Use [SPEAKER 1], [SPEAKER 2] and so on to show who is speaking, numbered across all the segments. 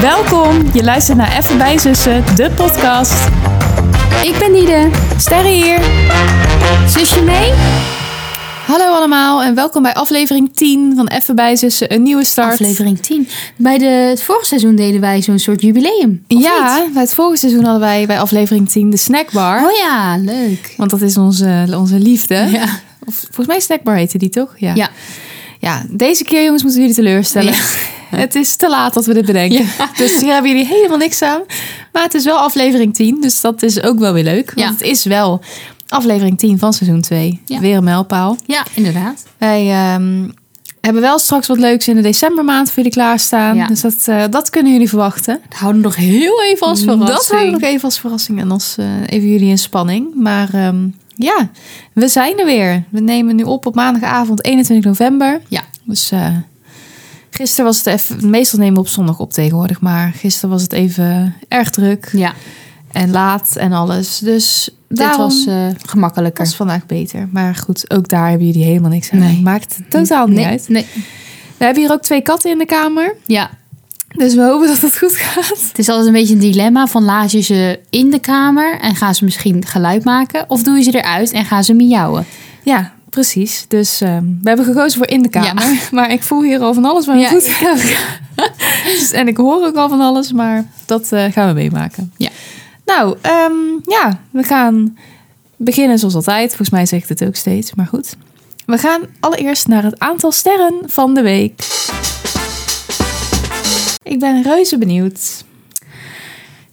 [SPEAKER 1] Welkom, je luistert naar Even bij Zussen, de podcast.
[SPEAKER 2] Ik ben Nide.
[SPEAKER 1] Sterre hier.
[SPEAKER 2] Zusje mee?
[SPEAKER 1] Hallo allemaal en welkom bij aflevering 10 van Even bij Zussen, een nieuwe start.
[SPEAKER 2] Aflevering 10. Bij de, het vorige seizoen deden wij zo'n soort jubileum. of
[SPEAKER 1] ja, bij het vorige seizoen hadden wij bij aflevering 10 de snackbar.
[SPEAKER 2] niet? Oh ja, leuk.
[SPEAKER 1] Want dat is onze, onze liefde.
[SPEAKER 2] Ja.
[SPEAKER 1] Of, volgens mij snackbar heette die toch? Ja.
[SPEAKER 2] Ja.
[SPEAKER 1] Ja, deze keer jongens moeten we jullie teleurstellen.
[SPEAKER 2] Ja.
[SPEAKER 1] Het is te laat dat we dit bedenken. Dus hier hebben jullie helemaal niks aan. Maar het is wel aflevering 10, dus dat is ook wel weer leuk. Want
[SPEAKER 2] Ja.
[SPEAKER 1] het is wel aflevering 10 van seizoen 2.
[SPEAKER 2] Ja.
[SPEAKER 1] Weer een mijlpaal.
[SPEAKER 2] Ja, inderdaad.
[SPEAKER 1] Wij ehm, hebben wel straks wat leuks in de decembermaand voor jullie klaarstaan.
[SPEAKER 2] Ja.
[SPEAKER 1] Dus dat, eh, dat kunnen jullie verwachten.
[SPEAKER 2] We houden nog heel even als verrassing.
[SPEAKER 1] Dat houden we nog even als verrassing en als eh, even jullie in spanning. Maar ehm, ja, we zijn er weer. We nemen nu op op maandagavond 21 november.
[SPEAKER 2] Ja.
[SPEAKER 1] Dus eh, gisteren was het even... Meestal nemen we op zondag op tegenwoordig. Maar gisteren was het even erg druk
[SPEAKER 2] Ja,
[SPEAKER 1] en laat en alles. Dus
[SPEAKER 2] dit
[SPEAKER 1] daarom
[SPEAKER 2] was eh, gemakkelijker.
[SPEAKER 1] was vandaag beter. Maar goed, ook daar hebben jullie helemaal niks aan.
[SPEAKER 2] Nee.
[SPEAKER 1] Maakt totaal niet
[SPEAKER 2] nee,
[SPEAKER 1] uit.
[SPEAKER 2] Nee.
[SPEAKER 1] We hebben hier ook twee katten in de kamer.
[SPEAKER 2] Ja,
[SPEAKER 1] Dus we hopen dat het goed gaat.
[SPEAKER 2] het is altijd een beetje een dilemma van laat je ze in de kamer en gaan ze misschien geluid maken of doe je ze eruit en gaan ze miauwen.
[SPEAKER 1] Ja, precies. Dus ehm, we hebben gekozen voor in de kamer. Maar ik voel hier al van alles waar we
[SPEAKER 2] Ja.
[SPEAKER 1] goed aan Dus- En ik hoor ook al van alles, maar dat eh, gaan we meemaken.
[SPEAKER 2] Ja.
[SPEAKER 1] Nou, ehm, ja, we gaan beginnen zoals altijd. Volgens mij zeg ik het ook steeds, maar goed. We gaan allereerst naar het aantal sterren van de week. Ik ben reuze benieuwd.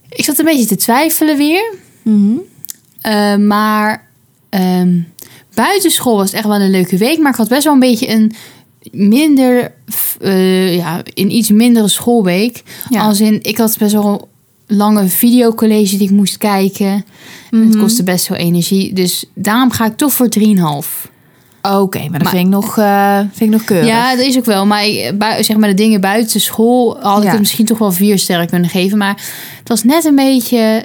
[SPEAKER 2] Ik zat een beetje te twijfelen weer.
[SPEAKER 1] Mhm.
[SPEAKER 2] Eh, maar ehm buitenschool was echt wel een leuke week. Maar ik had best wel een beetje een minder, f- eh, ja, een iets mindere schoolweek.
[SPEAKER 1] Ja.
[SPEAKER 2] Als in, ik had best wel een lange videocollege die ik moest kijken. En het
[SPEAKER 1] Mhm.
[SPEAKER 2] kostte best veel energie. Dus daarom ga ik toch voor 3,5.
[SPEAKER 1] Oh, Oké, maar dat
[SPEAKER 2] Maar-
[SPEAKER 1] vind ik nog, eh, vind ik nog keurig.
[SPEAKER 2] Ja, dat is ook wel. Maar ik, bui- zeg maar de dingen buiten school had ik
[SPEAKER 1] Ja.
[SPEAKER 2] het misschien toch wel vier sterren kunnen geven. Maar het was net een beetje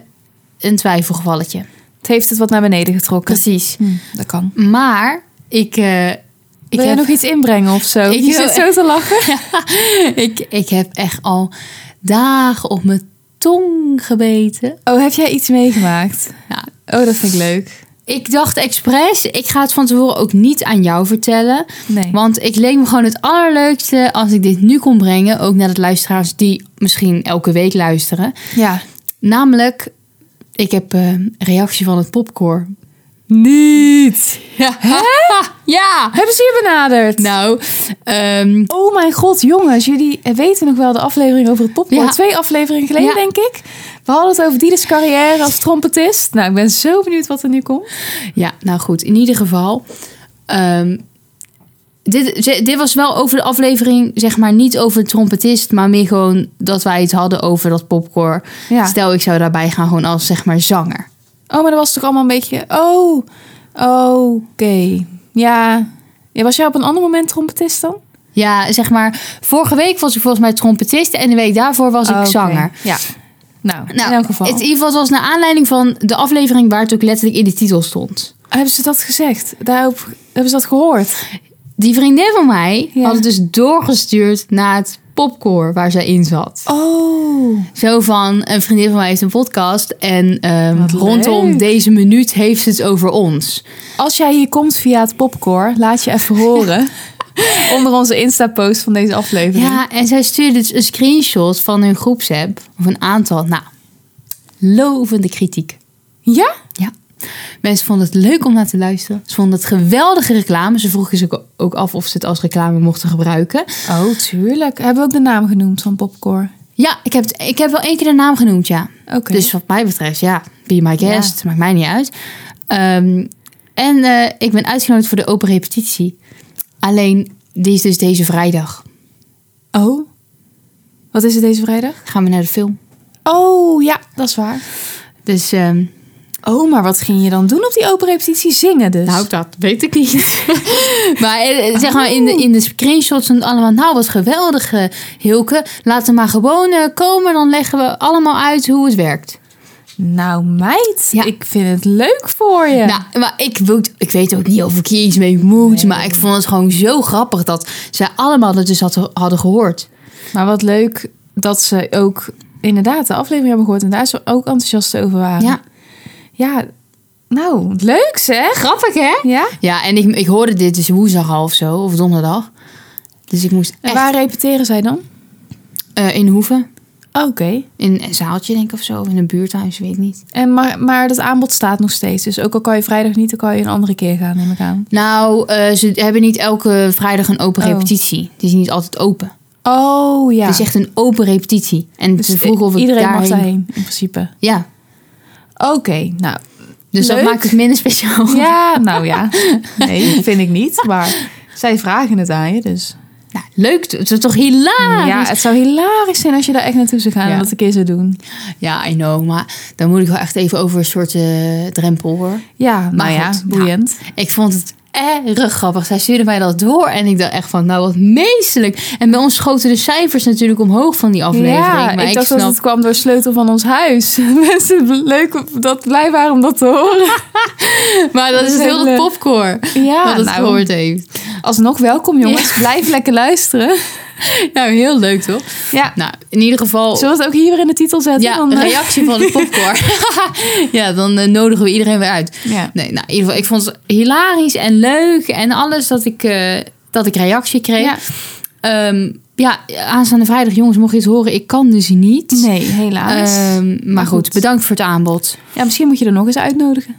[SPEAKER 2] een twijfelgevalletje.
[SPEAKER 1] Het heeft het wat naar beneden getrokken.
[SPEAKER 2] Precies.
[SPEAKER 1] Hm, dat kan.
[SPEAKER 2] Maar ik, eh, ik,
[SPEAKER 1] Wil jij
[SPEAKER 2] heb,
[SPEAKER 1] nog iets inbrengen of zo?
[SPEAKER 2] Ik
[SPEAKER 1] je
[SPEAKER 2] wil
[SPEAKER 1] zit zo te lachen.
[SPEAKER 2] ik, ik heb echt al dagen op mijn tong gebeten.
[SPEAKER 1] Oh, heb jij iets meegemaakt?
[SPEAKER 2] Ja.
[SPEAKER 1] Oh, dat vind ik leuk.
[SPEAKER 2] Ik dacht expres, ik ga het van tevoren ook niet aan jou vertellen.
[SPEAKER 1] Nee.
[SPEAKER 2] Want ik leek me gewoon het allerleukste als ik dit nu kon brengen. Ook naar de luisteraars die misschien elke week luisteren.
[SPEAKER 1] Ja.
[SPEAKER 2] Namelijk, ik heb eh, een reactie van het popcorn.
[SPEAKER 1] Niet.
[SPEAKER 2] Ja. ja.
[SPEAKER 1] Hebben ze je benaderd?
[SPEAKER 2] Nou, ehm,
[SPEAKER 1] Oh mijn god, jongens. Jullie weten nog wel de aflevering over het popcorn.
[SPEAKER 2] Ja.
[SPEAKER 1] Twee afleveringen geleden,
[SPEAKER 2] Ja.
[SPEAKER 1] denk ik. We hadden het over Diedes carrière als trompetist. Nou, ik ben zo benieuwd wat er nu komt.
[SPEAKER 2] Ja, nou goed. In ieder geval. ehm, dit, ze- dit was wel over de aflevering, zeg maar niet over de trompetist, maar meer gewoon dat wij het hadden over dat popcorn.
[SPEAKER 1] Ja.
[SPEAKER 2] Stel, ik zou daarbij gaan gewoon als zeg maar zanger.
[SPEAKER 1] Oh, maar dat was toch allemaal een beetje... Oh, oké. Ja. ja. Was jij op een ander moment trompetist dan?
[SPEAKER 2] Ja, zeg maar, vorige week was ik volgens mij trompetist en de week daarvoor was ik
[SPEAKER 1] Oh, oké.
[SPEAKER 2] zanger.
[SPEAKER 1] Ja. Nou,
[SPEAKER 2] Nou,
[SPEAKER 1] in elk geval.
[SPEAKER 2] Het, in ieder geval, het was naar aanleiding van de aflevering waar het ook letterlijk in de titel stond.
[SPEAKER 1] Hebben ze dat gezegd? Daarop, hebben ze dat gehoord?
[SPEAKER 2] Die vriendin van mij
[SPEAKER 1] Ja.
[SPEAKER 2] had het dus doorgestuurd naar het popcorn waar zij in zat.
[SPEAKER 1] Oh.
[SPEAKER 2] Zo van, een vriendin van mij heeft een podcast en ehm,
[SPEAKER 1] Wat
[SPEAKER 2] rondom
[SPEAKER 1] leuk.
[SPEAKER 2] deze minuut heeft ze het over ons.
[SPEAKER 1] Als jij hier komt via het popcorn, laat je even horen. Onder onze Insta-post van deze aflevering.
[SPEAKER 2] Ja, en zij stuurde dus een screenshot van hun groepsapp, of een aantal, nou, lovende kritiek.
[SPEAKER 1] Ja?
[SPEAKER 2] Ja. Mensen vonden het leuk om naar te luisteren. Ze vonden het geweldige reclame. Ze vroegen zich ook af of ze het als reclame mochten gebruiken.
[SPEAKER 1] Oh, tuurlijk. Hebben we ook de naam genoemd van popcorn?
[SPEAKER 2] Ja, ik heb, het- ik heb wel één keer de naam genoemd, ja.
[SPEAKER 1] Oké.
[SPEAKER 2] Dus wat mij betreft, ja, be my guest. Maakt mij niet uit. Ehm, en eh, ik ben uitgenodigd voor de open repetitie. Alleen, die is dus deze vrijdag.
[SPEAKER 1] Oh. Wat is het deze vrijdag?
[SPEAKER 2] Gaan we naar de film.
[SPEAKER 1] Oh, ja, dat is waar.
[SPEAKER 2] Dus, ehm
[SPEAKER 1] Oh, maar wat ging je dan doen op die open repetitie? Zingen dus?
[SPEAKER 2] nou, dat weet ik niet. maar eh, eh, zeg maar, in de,
[SPEAKER 1] Oh.
[SPEAKER 2] in de screenshots en allemaal... Nou, wat geweldig, eh, Hilke. Laten we maar gewoon eh, komen. Dan leggen we allemaal uit hoe het werkt.
[SPEAKER 1] nou meid,
[SPEAKER 2] Ja.
[SPEAKER 1] ik vind het leuk voor je.
[SPEAKER 2] Nou, maar ik, weet- ik weet ook niet of ik hier iets mee moet. Maar ik vond het gewoon zo grappig dat zij allemaal dat dus had- hadden gehoord.
[SPEAKER 1] Maar wat leuk dat ze ook inderdaad de aflevering hebben gehoord en daar ze ook enthousiast over waren.
[SPEAKER 2] Ja.
[SPEAKER 1] Ja, nou, leuk zeg.
[SPEAKER 2] Grappig, hè?
[SPEAKER 1] Ja.
[SPEAKER 2] Ja, en ik, ik hoorde dit dus woensdag al of zo, of donderdag. Dus ik moest
[SPEAKER 1] En
[SPEAKER 2] echt
[SPEAKER 1] waar repeteren zij dan?
[SPEAKER 2] eh, in Hoeven,
[SPEAKER 1] Oké.
[SPEAKER 2] in een zaaltje denk ik of zo, of in een buurthuis, weet ik niet.
[SPEAKER 1] En maar, maar dat aanbod staat nog steeds. Dus ook al kan je vrijdag niet, dan kan je een andere keer gaan, neem ik aan.
[SPEAKER 2] Nou, eh, ze hebben niet elke vrijdag een open
[SPEAKER 1] Oh.
[SPEAKER 2] repetitie. Het is niet altijd open.
[SPEAKER 1] Oh ja.
[SPEAKER 2] Het is echt een open repetitie. En
[SPEAKER 1] Dus
[SPEAKER 2] ze vroegen of ik
[SPEAKER 1] iedereen
[SPEAKER 2] daarheen...
[SPEAKER 1] mag daarheen, in principe.
[SPEAKER 2] Ja,
[SPEAKER 1] Oké, nou.
[SPEAKER 2] dus
[SPEAKER 1] Leuk.
[SPEAKER 2] dat maakt het minder speciaal.
[SPEAKER 1] Ja, nou ja. Nee, vind ik niet. Maar zij vragen het aan je, dus.
[SPEAKER 2] Nou, leuk, het is toch hilarisch?
[SPEAKER 1] Ah, Ja, het zou hilarisch zijn als je daar echt naartoe zou gaan
[SPEAKER 2] Ja.
[SPEAKER 1] en dat een keer zou doen.
[SPEAKER 2] Ja, I know, maar dan moet ik wel echt even over een soort eh, drempel hoor.
[SPEAKER 1] Ja, nou
[SPEAKER 2] Maar
[SPEAKER 1] ja,
[SPEAKER 2] goed, ja.
[SPEAKER 1] boeiend.
[SPEAKER 2] Ik vond het erg grappig. Zij stuurde mij dat door en ik dacht echt van, nou wat meestelijk. En bij ons schoten de cijfers natuurlijk omhoog van die aflevering.
[SPEAKER 1] ja,
[SPEAKER 2] maar
[SPEAKER 1] ik
[SPEAKER 2] ik,
[SPEAKER 1] dacht
[SPEAKER 2] snap...
[SPEAKER 1] dat het kwam door sleutel van ons huis. Mensen bl- leuk dat blij waren om dat te horen.
[SPEAKER 2] Maar dat
[SPEAKER 1] dat
[SPEAKER 2] is
[SPEAKER 1] is
[SPEAKER 2] heel
[SPEAKER 1] hele-
[SPEAKER 2] het popcorn
[SPEAKER 1] Ja,
[SPEAKER 2] dat het
[SPEAKER 1] nou,
[SPEAKER 2] gehoord heeft.
[SPEAKER 1] alsnog welkom jongens. Blijf lekker luisteren.
[SPEAKER 2] Nou, heel leuk toch?
[SPEAKER 1] Ja.
[SPEAKER 2] Nou, in ieder geval...
[SPEAKER 1] Zullen we het ook hier weer in de titel zetten?
[SPEAKER 2] Ja,
[SPEAKER 1] Dan,
[SPEAKER 2] een
[SPEAKER 1] eh,
[SPEAKER 2] reactie van de popcorn. ja, dan eh, nodigen we iedereen weer uit.
[SPEAKER 1] ja.
[SPEAKER 2] Nee, nou, in ieder geval, ik vond het hilarisch en leuk en alles dat ik, eh, dat ik reactie kreeg.
[SPEAKER 1] Ja.
[SPEAKER 2] Ehm, ja, aanstaande vrijdag, jongens, mocht je het horen, ik kan dus niet.
[SPEAKER 1] Nee, helaas.
[SPEAKER 2] Ehm, maar,
[SPEAKER 1] Maar
[SPEAKER 2] goed,
[SPEAKER 1] goed.
[SPEAKER 2] bedankt voor het aanbod.
[SPEAKER 1] ja, misschien moet je er nog eens uitnodigen.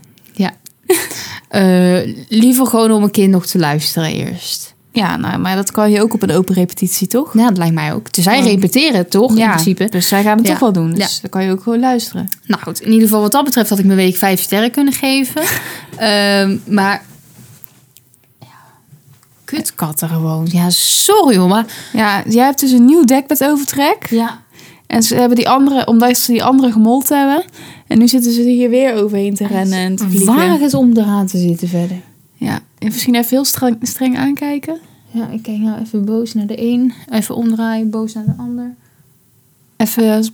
[SPEAKER 2] Eh, liever gewoon om een keer nog te luisteren eerst.
[SPEAKER 1] Ja, nou, maar dat kan je ook op een open repetitie, toch?
[SPEAKER 2] Ja, dat lijkt mij ook. Dus zij
[SPEAKER 1] Oh.
[SPEAKER 2] repeteren toch, in principe.
[SPEAKER 1] Dus zij gaan het
[SPEAKER 2] Ja.
[SPEAKER 1] toch wel doen. Dus dan kan je ook gewoon luisteren.
[SPEAKER 2] Nou goed, in ieder geval wat dat betreft had ik mijn week vijf sterren kunnen geven. Ehm, maar... Kutkatten gewoon. Ja, sorry hoor, maar...
[SPEAKER 1] Ja, jij hebt dus een nieuw dekbed overtrek.
[SPEAKER 2] Ja.
[SPEAKER 1] En ze hebben die andere, omdat ze die andere gemold hebben. En nu zitten ze hier weer overheen te rennen en te vliegen.
[SPEAKER 2] Waar het om eraan te zitten verder.
[SPEAKER 1] Ja, en misschien even heel streng, streng aankijken.
[SPEAKER 2] Ja, ik kijk nou even boos naar de een. Even omdraaien, boos naar de ander.
[SPEAKER 1] Even als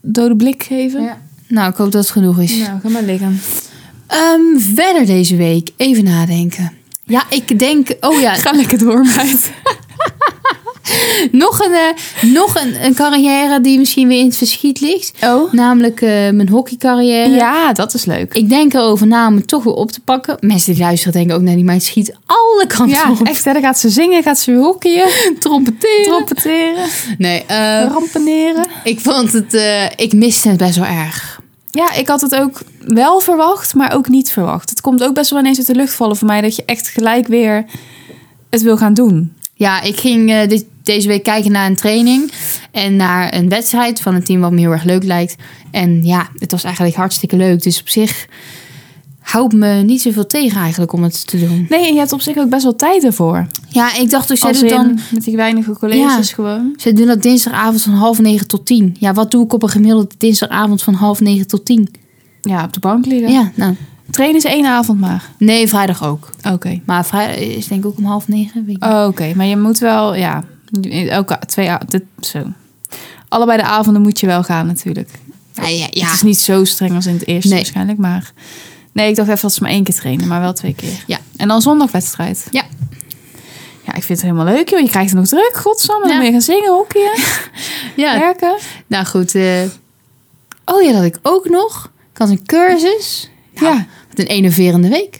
[SPEAKER 1] dode blik geven.
[SPEAKER 2] Nou, ik hoop dat het genoeg is.
[SPEAKER 1] Nou, ga maar liggen.
[SPEAKER 2] Ehm, verder deze week, even nadenken. Ja, ik denk... Oh ja,
[SPEAKER 1] Ga lekker door, meid.
[SPEAKER 2] nog, een, eh, nog een, een carrière die misschien weer in het verschiet ligt.
[SPEAKER 1] Oh?
[SPEAKER 2] Namelijk eh, mijn hockeycarrière.
[SPEAKER 1] Ja, dat is leuk.
[SPEAKER 2] Ik denk erover na om het toch weer op te pakken. Mensen die luisteren denken ook naar die meid schiet alle kanten
[SPEAKER 1] Ja,
[SPEAKER 2] op.
[SPEAKER 1] echt. hè, Dan gaat ze zingen, gaat ze weer hockeyen,
[SPEAKER 2] trompeteren.
[SPEAKER 1] trompetteren,
[SPEAKER 2] nee, eh,
[SPEAKER 1] rampeneren.
[SPEAKER 2] ik vond het... eh, ik miste het best wel erg.
[SPEAKER 1] Ja, ik had het ook wel verwacht, maar ook niet verwacht. Het komt ook best wel ineens uit de lucht vallen voor mij dat je echt gelijk weer het wil gaan doen.
[SPEAKER 2] Ja, ik ging eh, dit, deze week kijken naar een training en naar een wedstrijd van een team wat me heel erg leuk lijkt. En ja, het was eigenlijk hartstikke leuk. Dus op zich houdt me niet zoveel tegen eigenlijk om het te doen.
[SPEAKER 1] Nee, en je hebt op zich ook best wel tijd ervoor.
[SPEAKER 2] Ja, ik dacht dus jij
[SPEAKER 1] Als
[SPEAKER 2] doet
[SPEAKER 1] in
[SPEAKER 2] dan...
[SPEAKER 1] met die weinige colleges gewoon.
[SPEAKER 2] Ze doen dat dinsdagavond van half negen tot tien. Ja, wat doe ik op een gemiddelde dinsdagavond van half negen tot tien?
[SPEAKER 1] Ja, op de bank
[SPEAKER 2] Ja,
[SPEAKER 1] liggen.
[SPEAKER 2] nou.
[SPEAKER 1] Trainen is één avond maar.
[SPEAKER 2] Nee, vrijdag ook.
[SPEAKER 1] Oké.
[SPEAKER 2] Maar vrijdag is denk ik ook om half negen. Weet ik niet.
[SPEAKER 1] Oké, maar je moet wel, ja, elke twee, a- dit, zo. Allebei de avonden moet je wel gaan natuurlijk.
[SPEAKER 2] Ja, Oh, ja, ja.
[SPEAKER 1] Het is niet zo streng als in het eerste
[SPEAKER 2] Nee.
[SPEAKER 1] waarschijnlijk, maar... Nee, ik dacht even dat ze maar één keer trainen, maar wel twee keer.
[SPEAKER 2] Ja.
[SPEAKER 1] En dan zondagwedstrijd.
[SPEAKER 2] Ja.
[SPEAKER 1] Ja, ik vind het helemaal leuk, joh. Je krijgt het nog druk, godsamme.
[SPEAKER 2] Ja.
[SPEAKER 1] Dan ben je gaan zingen, hockeyen,
[SPEAKER 2] ja,
[SPEAKER 1] werken.
[SPEAKER 2] nou goed. eh, oh ja, dat ik ook nog. Ik had een cursus.
[SPEAKER 1] ja.
[SPEAKER 2] Wat een enerverende week.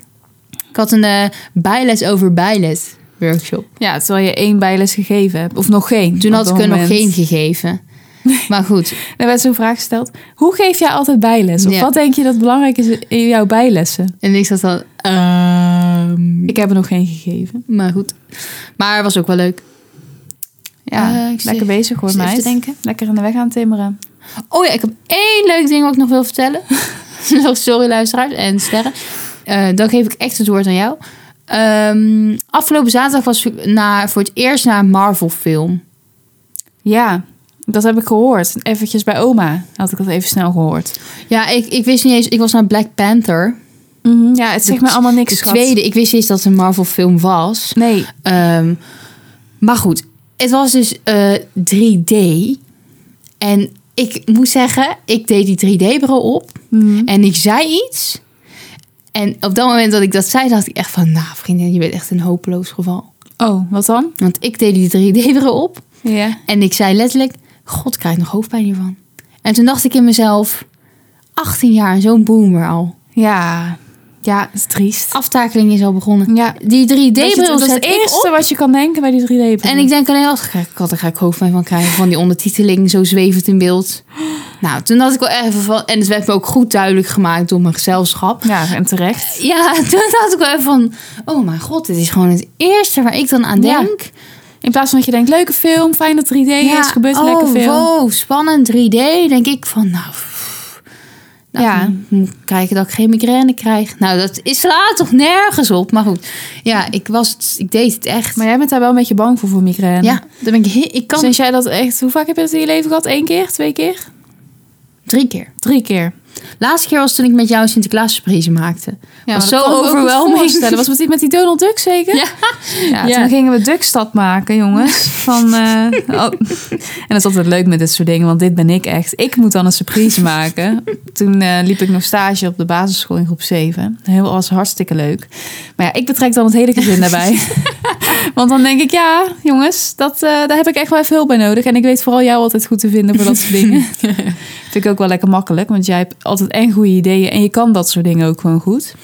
[SPEAKER 2] Ik had een eh, bijles over bijles workshop.
[SPEAKER 1] ja, terwijl je één bijles gegeven hebt. Of nog geen.
[SPEAKER 2] Toen
[SPEAKER 1] op
[SPEAKER 2] had
[SPEAKER 1] dat
[SPEAKER 2] ik er nog
[SPEAKER 1] moment.
[SPEAKER 2] geen gegeven. Maar goed,
[SPEAKER 1] Er werd zo'n vraag gesteld. Hoe geef jij altijd bijles? Of
[SPEAKER 2] Ja.
[SPEAKER 1] wat denk je dat belangrijk is in jouw bijlessen?
[SPEAKER 2] en ik zat dan... ehm,
[SPEAKER 1] Ik heb er nog geen gegeven.
[SPEAKER 2] Maar goed. Maar het was ook wel leuk.
[SPEAKER 1] Ja,
[SPEAKER 2] Eh, ik zit
[SPEAKER 1] lekker bezig hoor,
[SPEAKER 2] ik zit even
[SPEAKER 1] meid.
[SPEAKER 2] te denken.
[SPEAKER 1] Lekker in de weg aan het timmeren.
[SPEAKER 2] Oh ja, ik heb één leuk ding wat ik nog wil vertellen. Nog Sorry luisteraars en sterren. Eh, dan geef ik echt het woord aan jou. Ehm, afgelopen zaterdag was ik naar, voor het eerst naar een Marvel film.
[SPEAKER 1] Ja, dat heb ik gehoord. Eventjes bij oma had ik dat even snel gehoord.
[SPEAKER 2] Ja, ik, ik wist niet eens... Ik was naar Black Panther.
[SPEAKER 1] Mhm, Ja, het zegt me allemaal
[SPEAKER 2] De
[SPEAKER 1] niks, schat.
[SPEAKER 2] tweede. Ik wist niet eens dat het een Marvel film was.
[SPEAKER 1] Nee,
[SPEAKER 2] Ehm, maar goed, het was dus eh, 3D. En ik moet zeggen, ik deed die 3D-bril op.
[SPEAKER 1] Mhm.
[SPEAKER 2] En ik zei iets. En op dat moment dat ik dat zei, dacht ik echt van... Nou, vriendin, je bent echt een hopeloos geval.
[SPEAKER 1] Oh, wat dan?
[SPEAKER 2] Want ik deed die 3D-bril op.
[SPEAKER 1] Ja.
[SPEAKER 2] En ik zei letterlijk... God, ik krijg nog hoofdpijn hiervan. En toen dacht ik in mezelf, 18 jaar en zo'n boomer al.
[SPEAKER 1] Ja,
[SPEAKER 2] Ja,
[SPEAKER 1] dat is triest.
[SPEAKER 2] aftakeling is al begonnen.
[SPEAKER 1] Ja.
[SPEAKER 2] Die
[SPEAKER 1] Dat, je,
[SPEAKER 2] 3D-bril
[SPEAKER 1] dat is
[SPEAKER 2] zet
[SPEAKER 1] het
[SPEAKER 2] ik
[SPEAKER 1] eerste
[SPEAKER 2] op.
[SPEAKER 1] wat je kan denken bij die 3D-bril.
[SPEAKER 2] En ik denk alleen, als ga ik, God, daar ga ik hoofdpijn van krijgen. Van die ondertiteling, zo zwevend in beeld. Nou, toen had ik wel even van... En het werd me ook goed duidelijk gemaakt door mijn gezelschap.
[SPEAKER 1] Ja, en terecht.
[SPEAKER 2] Ja, toen had ik wel even van... Oh mijn god, dit is gewoon het eerste waar ik dan aan
[SPEAKER 1] Ja.
[SPEAKER 2] denk.
[SPEAKER 1] In plaats van dat je denkt, leuke film, fijn dat 3D is, gebeurt er
[SPEAKER 2] oh,
[SPEAKER 1] lekker veel.
[SPEAKER 2] wow, spannend 3D. Denk ik van, nou... pff, nou
[SPEAKER 1] Ja.
[SPEAKER 2] Moet ik kijken dat ik geen migraine krijg. Nou, dat is, slaat toch nergens op. Maar goed, ja, ik, was, het- ik deed het echt.
[SPEAKER 1] Maar jij bent daar wel een beetje bang voor, voor migraine.
[SPEAKER 2] ja, dan ben ik, he- ik kan
[SPEAKER 1] Sinds jij dat echt... Hoe vaak heb je dat in je leven gehad? Eén keer? Twee keer?
[SPEAKER 2] drie keer.
[SPEAKER 1] Drie keer.
[SPEAKER 2] Laatste keer was toen ik met jou Sinterklaas surprise maakte.
[SPEAKER 1] Ja,
[SPEAKER 2] was
[SPEAKER 1] maar
[SPEAKER 2] zo
[SPEAKER 1] kan ik me ook goed voorstellen.
[SPEAKER 2] overwhelming.
[SPEAKER 1] Dat was met die, met die Donald Duck zeker?
[SPEAKER 2] Ja.
[SPEAKER 1] Ja,
[SPEAKER 2] Ja.
[SPEAKER 1] toen gingen we Duckstad maken, jongens. Van, eh, oh. En dat is altijd leuk met dit soort dingen, want dit ben ik echt. Ik moet dan een surprise maken. Toen eh, liep ik nog stage op de basisschool in groep 7. Heel was hartstikke leuk. Maar ja, ik betrek dan het hele gezin daarbij. want dan denk ik, ja, jongens, dat, eh, daar heb ik echt wel even hulp bij nodig. En ik weet vooral jou altijd goed te vinden voor dat soort dingen. Vind ik ook wel lekker makkelijk, want jij hebt altijd en goede ideeën en je kan dat soort dingen ook gewoon goed.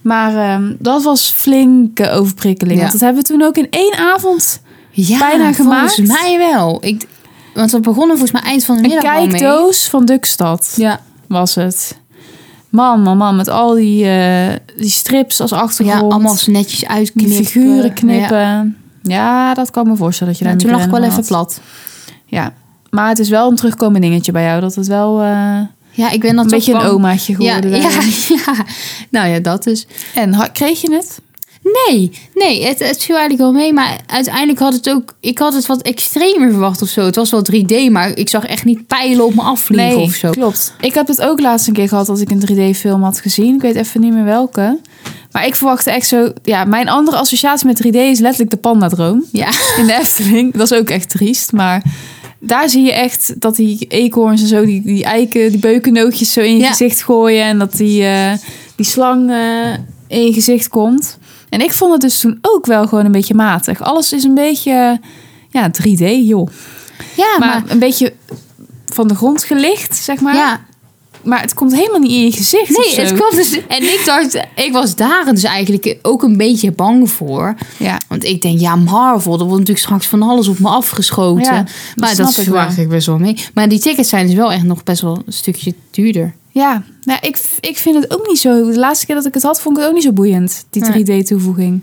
[SPEAKER 1] Maar ehm, dat was flinke overprikkeling.
[SPEAKER 2] Ja.
[SPEAKER 1] Want dat hebben we toen ook in één avond.
[SPEAKER 2] Ja,
[SPEAKER 1] Bijna gemaakt.
[SPEAKER 2] Volgens mij wel. Ik, want we begonnen volgens mij eind van de
[SPEAKER 1] Een
[SPEAKER 2] middag al mee.
[SPEAKER 1] kijkdoos van Dukstad
[SPEAKER 2] Ja.
[SPEAKER 1] was het. Man, man, man, met al die, eh, die strips als achtergrond.
[SPEAKER 2] ja, allemaal zo netjes
[SPEAKER 1] die
[SPEAKER 2] uitknippen.
[SPEAKER 1] figuren knippen.
[SPEAKER 2] Ja.
[SPEAKER 1] Ja. dat kan ik me voorstellen dat je
[SPEAKER 2] Ja,
[SPEAKER 1] daar
[SPEAKER 2] toen lag ik wel
[SPEAKER 1] migraine
[SPEAKER 2] even
[SPEAKER 1] van had.
[SPEAKER 2] plat.
[SPEAKER 1] Ja, maar het is wel een terugkomend dingetje bij jou. Dat het wel eh,
[SPEAKER 2] Ja, ik ben dan
[SPEAKER 1] een beetje
[SPEAKER 2] toch
[SPEAKER 1] een
[SPEAKER 2] bang.
[SPEAKER 1] omaatje
[SPEAKER 2] Ja,
[SPEAKER 1] geworden.
[SPEAKER 2] ja,
[SPEAKER 1] daarin.
[SPEAKER 2] ja. Nou ja, dat dus.
[SPEAKER 1] En ha- kreeg je het?
[SPEAKER 2] Nee, nee, het, het viel eigenlijk wel mee. Maar uiteindelijk had het ook... Ik had het wat extremer verwacht of zo. Het was wel 3D, maar ik zag echt niet pijlen op me afvliegen of zo.
[SPEAKER 1] Klopt. Ik heb het ook laatst een keer gehad als ik een 3D-film had gezien. Ik weet even niet meer welke. Maar ik verwachtte echt zo. Ja, mijn andere associatie met 3D is letterlijk de pandadroom
[SPEAKER 2] Ja.
[SPEAKER 1] in de Efteling. Dat is ook echt triest, maar. Daar zie je echt dat die eekhoorns en zo, die, die eiken, die beukennootjes zo in je
[SPEAKER 2] Ja.
[SPEAKER 1] gezicht gooien. En dat die, eh, die slang eh, in je gezicht komt. En ik vond het dus toen ook wel gewoon een beetje matig. Alles is een beetje, eh, ja, 3D, joh.
[SPEAKER 2] Ja,
[SPEAKER 1] maar,
[SPEAKER 2] maar...
[SPEAKER 1] een beetje van de grond gelicht, zeg maar.
[SPEAKER 2] ja,
[SPEAKER 1] Maar het komt helemaal niet in je gezicht. of zo.
[SPEAKER 2] nee, het kwam dus... En ik dacht... Ik was daar dus eigenlijk ook een beetje bang voor.
[SPEAKER 1] Ja.
[SPEAKER 2] Want ik denk, ja, Marvel, er wordt natuurlijk straks van alles op me afgeschoten.
[SPEAKER 1] Ja, dat
[SPEAKER 2] maar
[SPEAKER 1] snap
[SPEAKER 2] dat
[SPEAKER 1] ik
[SPEAKER 2] verwacht
[SPEAKER 1] wel.
[SPEAKER 2] ik best wel mee. Maar die tickets zijn dus wel echt nog best wel een stukje duurder.
[SPEAKER 1] Ja, nou, ik, ik vind het ook niet zo. De laatste keer dat ik het had, vond ik het ook niet zo boeiend, die 3D-toevoeging.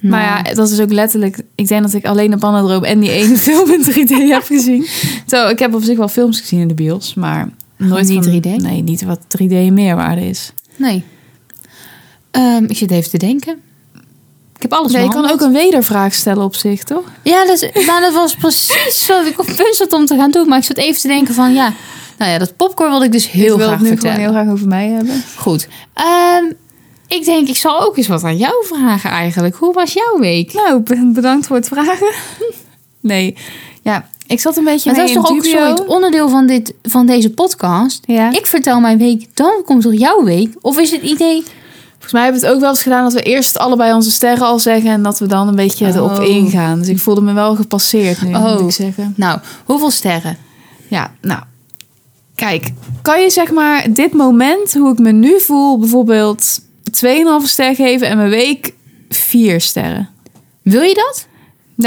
[SPEAKER 1] Maar ja, dat is ook letterlijk. Ik denk dat ik alleen de Panadroom en die ene film in 3D heb gezien. Zo, ik heb op zich wel films gezien in de bios, maar nooit
[SPEAKER 2] niet
[SPEAKER 1] van-
[SPEAKER 2] 3D?
[SPEAKER 1] Nee, niet wat 3D een meerwaarde is.
[SPEAKER 2] Nee. Ehm, ik zit even te denken. Ik heb alles
[SPEAKER 1] Nee, je kan ook
[SPEAKER 2] behandeld.
[SPEAKER 1] een wedervraag stellen op zich, toch?
[SPEAKER 2] Ja, dat, is- nou, dat was precies wat ik op punt zat om te gaan doen. Maar ik zat even te denken van, ja... Nou ja, dat popcorn wilde ik dus heel
[SPEAKER 1] ik wil
[SPEAKER 2] graag
[SPEAKER 1] het nu
[SPEAKER 2] vertellen.
[SPEAKER 1] gewoon heel graag over mij hebben.
[SPEAKER 2] Goed. Ehm, ik denk, ik zal ook eens wat aan jou vragen eigenlijk. Hoe was jouw week?
[SPEAKER 1] Nou, b- bedankt voor het vragen. Nee, ja, ik zat een beetje
[SPEAKER 2] Maar dat
[SPEAKER 1] mee
[SPEAKER 2] is
[SPEAKER 1] in
[SPEAKER 2] toch ook
[SPEAKER 1] dubio.
[SPEAKER 2] zo het onderdeel van, dit, van deze podcast.
[SPEAKER 1] Ja.
[SPEAKER 2] Ik vertel mijn week, dan komt toch jouw week? Of is het idee...
[SPEAKER 1] Volgens mij hebben we het ook wel eens gedaan dat we eerst allebei onze sterren al zeggen en dat we dan een beetje erop
[SPEAKER 2] Oh.
[SPEAKER 1] ingaan. Dus ik voelde me wel gepasseerd nu, moet
[SPEAKER 2] Oh.
[SPEAKER 1] ik zeggen.
[SPEAKER 2] Nou, hoeveel sterren?
[SPEAKER 1] Ja, nou. Kijk, kan je zeg maar dit moment, hoe ik me nu voel, bijvoorbeeld 2,5 ster geven en mijn week 4 sterren?
[SPEAKER 2] Wil je dat?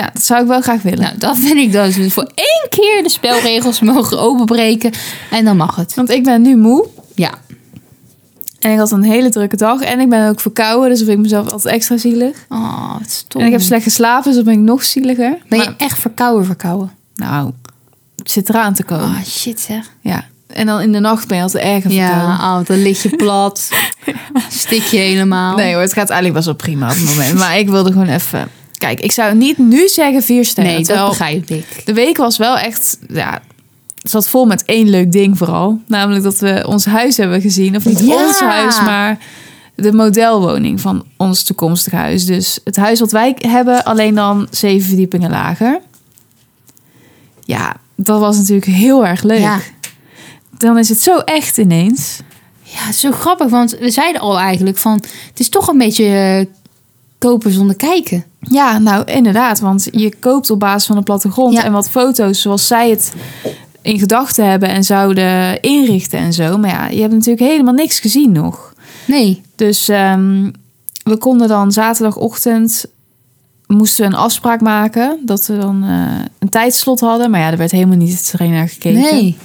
[SPEAKER 1] Ja, dat zou ik wel graag willen.
[SPEAKER 2] Nou, dat vind ik dan dus voor één keer de spelregels mogen openbreken. En dan mag het.
[SPEAKER 1] Want ik ben nu moe
[SPEAKER 2] Ja.
[SPEAKER 1] en ik had een hele drukke dag en ik ben ook verkouden, dus dan vind ik mezelf altijd extra zielig.
[SPEAKER 2] Oh, wat stom.
[SPEAKER 1] En ik heb slecht geslapen, dus dan ben ik nog zieliger.
[SPEAKER 2] Ben je
[SPEAKER 1] Maar-
[SPEAKER 2] echt verkouden verkouden?
[SPEAKER 1] nou, het zit eraan te komen.
[SPEAKER 2] Oh, shit zeg.
[SPEAKER 1] Ja. En dan in de nacht ben je altijd erger verkouden.
[SPEAKER 2] Ja, oh, dan lig je plat. Stik je helemaal.
[SPEAKER 1] Nee hoor, het gaat eigenlijk best wel prima op het moment. maar ik wilde gewoon even... Kijk, ik zou niet nu zeggen vier sterren.
[SPEAKER 2] nee dat
[SPEAKER 1] terwijl
[SPEAKER 2] begrijp ik.
[SPEAKER 1] De week was wel echt... Ja, het zat vol met één leuk ding vooral. Namelijk dat we ons huis hebben gezien. Of niet
[SPEAKER 2] Ja.
[SPEAKER 1] ons huis, maar de modelwoning van ons toekomstige huis. Dus het huis wat wij hebben, alleen dan zeven verdiepingen lager. Ja, dat was natuurlijk heel erg leuk.
[SPEAKER 2] Ja.
[SPEAKER 1] Dan is het zo echt ineens.
[SPEAKER 2] Ja, zo grappig, want we zeiden al eigenlijk van... Het is toch een beetje eh, kopen zonder kijken.
[SPEAKER 1] Ja, nou inderdaad, want je koopt op basis van een plattegrond
[SPEAKER 2] Ja.
[SPEAKER 1] en wat foto's zoals zij het in gedachten hebben en zouden inrichten en zo. Maar ja, je hebt natuurlijk helemaal niks gezien nog.
[SPEAKER 2] Nee.
[SPEAKER 1] Dus ehm, we konden dan zaterdagochtend moesten we een afspraak maken dat we dan eh, een tijdslot hadden. Maar ja, er werd helemaal niet streng naar gekeken.
[SPEAKER 2] Nee.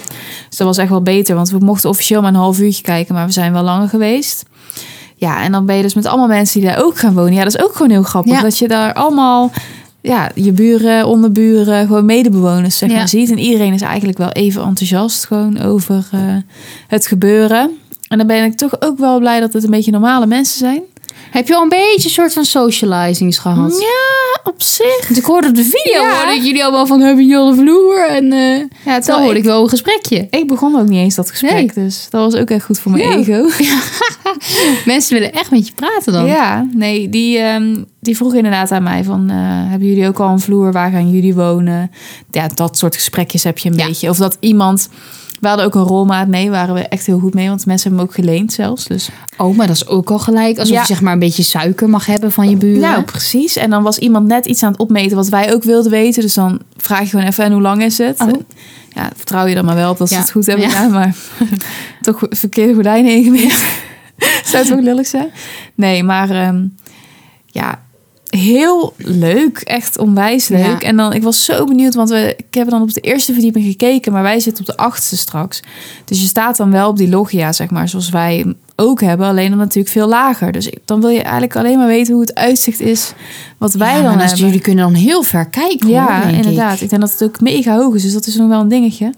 [SPEAKER 1] Dus dat was echt wel beter, want we mochten officieel maar een half uurtje kijken, maar we zijn wel langer geweest. Ja, en dan ben je dus met allemaal mensen die daar ook gaan wonen. Ja, dat is ook gewoon heel grappig.
[SPEAKER 2] Ja.
[SPEAKER 1] Dat je daar allemaal, ja, je buren, onderburen, gewoon medebewoners zeg
[SPEAKER 2] Ja.
[SPEAKER 1] maar ziet. En iedereen is eigenlijk wel even enthousiast gewoon over eh, het gebeuren. En dan ben ik toch ook wel blij dat het een beetje normale mensen zijn.
[SPEAKER 2] Heb je al een beetje een soort van socializings gehad?
[SPEAKER 1] Ja, op zich.
[SPEAKER 2] Want ik hoorde op de video
[SPEAKER 1] Ja.
[SPEAKER 2] hoorde ik jullie allemaal van hebben jullie al de vloer en eh
[SPEAKER 1] Ja, het
[SPEAKER 2] dan hoorde ik wel een gesprekje.
[SPEAKER 1] Ik begon ook niet eens dat gesprek, dus dat was ook echt goed voor mijn
[SPEAKER 2] Ja.
[SPEAKER 1] ego.
[SPEAKER 2] Mensen willen echt met je praten dan.
[SPEAKER 1] Ja, nee, die, ehm, die vroeg inderdaad aan mij van... eh, hebben jullie ook al een vloer? Waar gaan jullie wonen? Ja, dat soort gesprekjes heb je een
[SPEAKER 2] Ja.
[SPEAKER 1] beetje. Of dat iemand... We hadden ook een rolmaat mee, waren we echt heel goed mee. Want mensen hebben hem ook geleend zelfs. Dus.
[SPEAKER 2] Oh, maar dat is ook al gelijk alsof
[SPEAKER 1] Ja.
[SPEAKER 2] je zeg maar een beetje suiker mag hebben van je buren.
[SPEAKER 1] Nou, precies. En dan was iemand net iets aan het opmeten wat wij ook wilden weten. Dus dan vraag je gewoon even, en hoe lang is het?
[SPEAKER 2] Oh.
[SPEAKER 1] Ja, vertrouw je dan maar wel op dat ze
[SPEAKER 2] Ja.
[SPEAKER 1] het goed hebben
[SPEAKER 2] Ja.
[SPEAKER 1] gedaan. Maar toch verkeerde gordijnen ingemeten. Zou het ook lullig zijn? Nee, maar ehm, ja, heel leuk. Echt onwijs leuk.
[SPEAKER 2] Ja.
[SPEAKER 1] En dan, ik was zo benieuwd, want we, ik heb dan op de eerste verdieping gekeken. Maar wij zitten op de achtste straks. Dus je staat dan wel op die loggia, zeg maar, zoals wij hem ook hebben. Alleen dan natuurlijk veel lager. Dus ik- dan wil je eigenlijk alleen maar weten hoe het uitzicht is wat wij
[SPEAKER 2] Ja, maar
[SPEAKER 1] dan
[SPEAKER 2] dat is-
[SPEAKER 1] hebben.
[SPEAKER 2] jullie kunnen dan heel ver kijken.
[SPEAKER 1] Ja,
[SPEAKER 2] hoor, denk ik.
[SPEAKER 1] inderdaad. Ik. denk dat het ook mega hoog is, dus dat is nog wel een dingetje.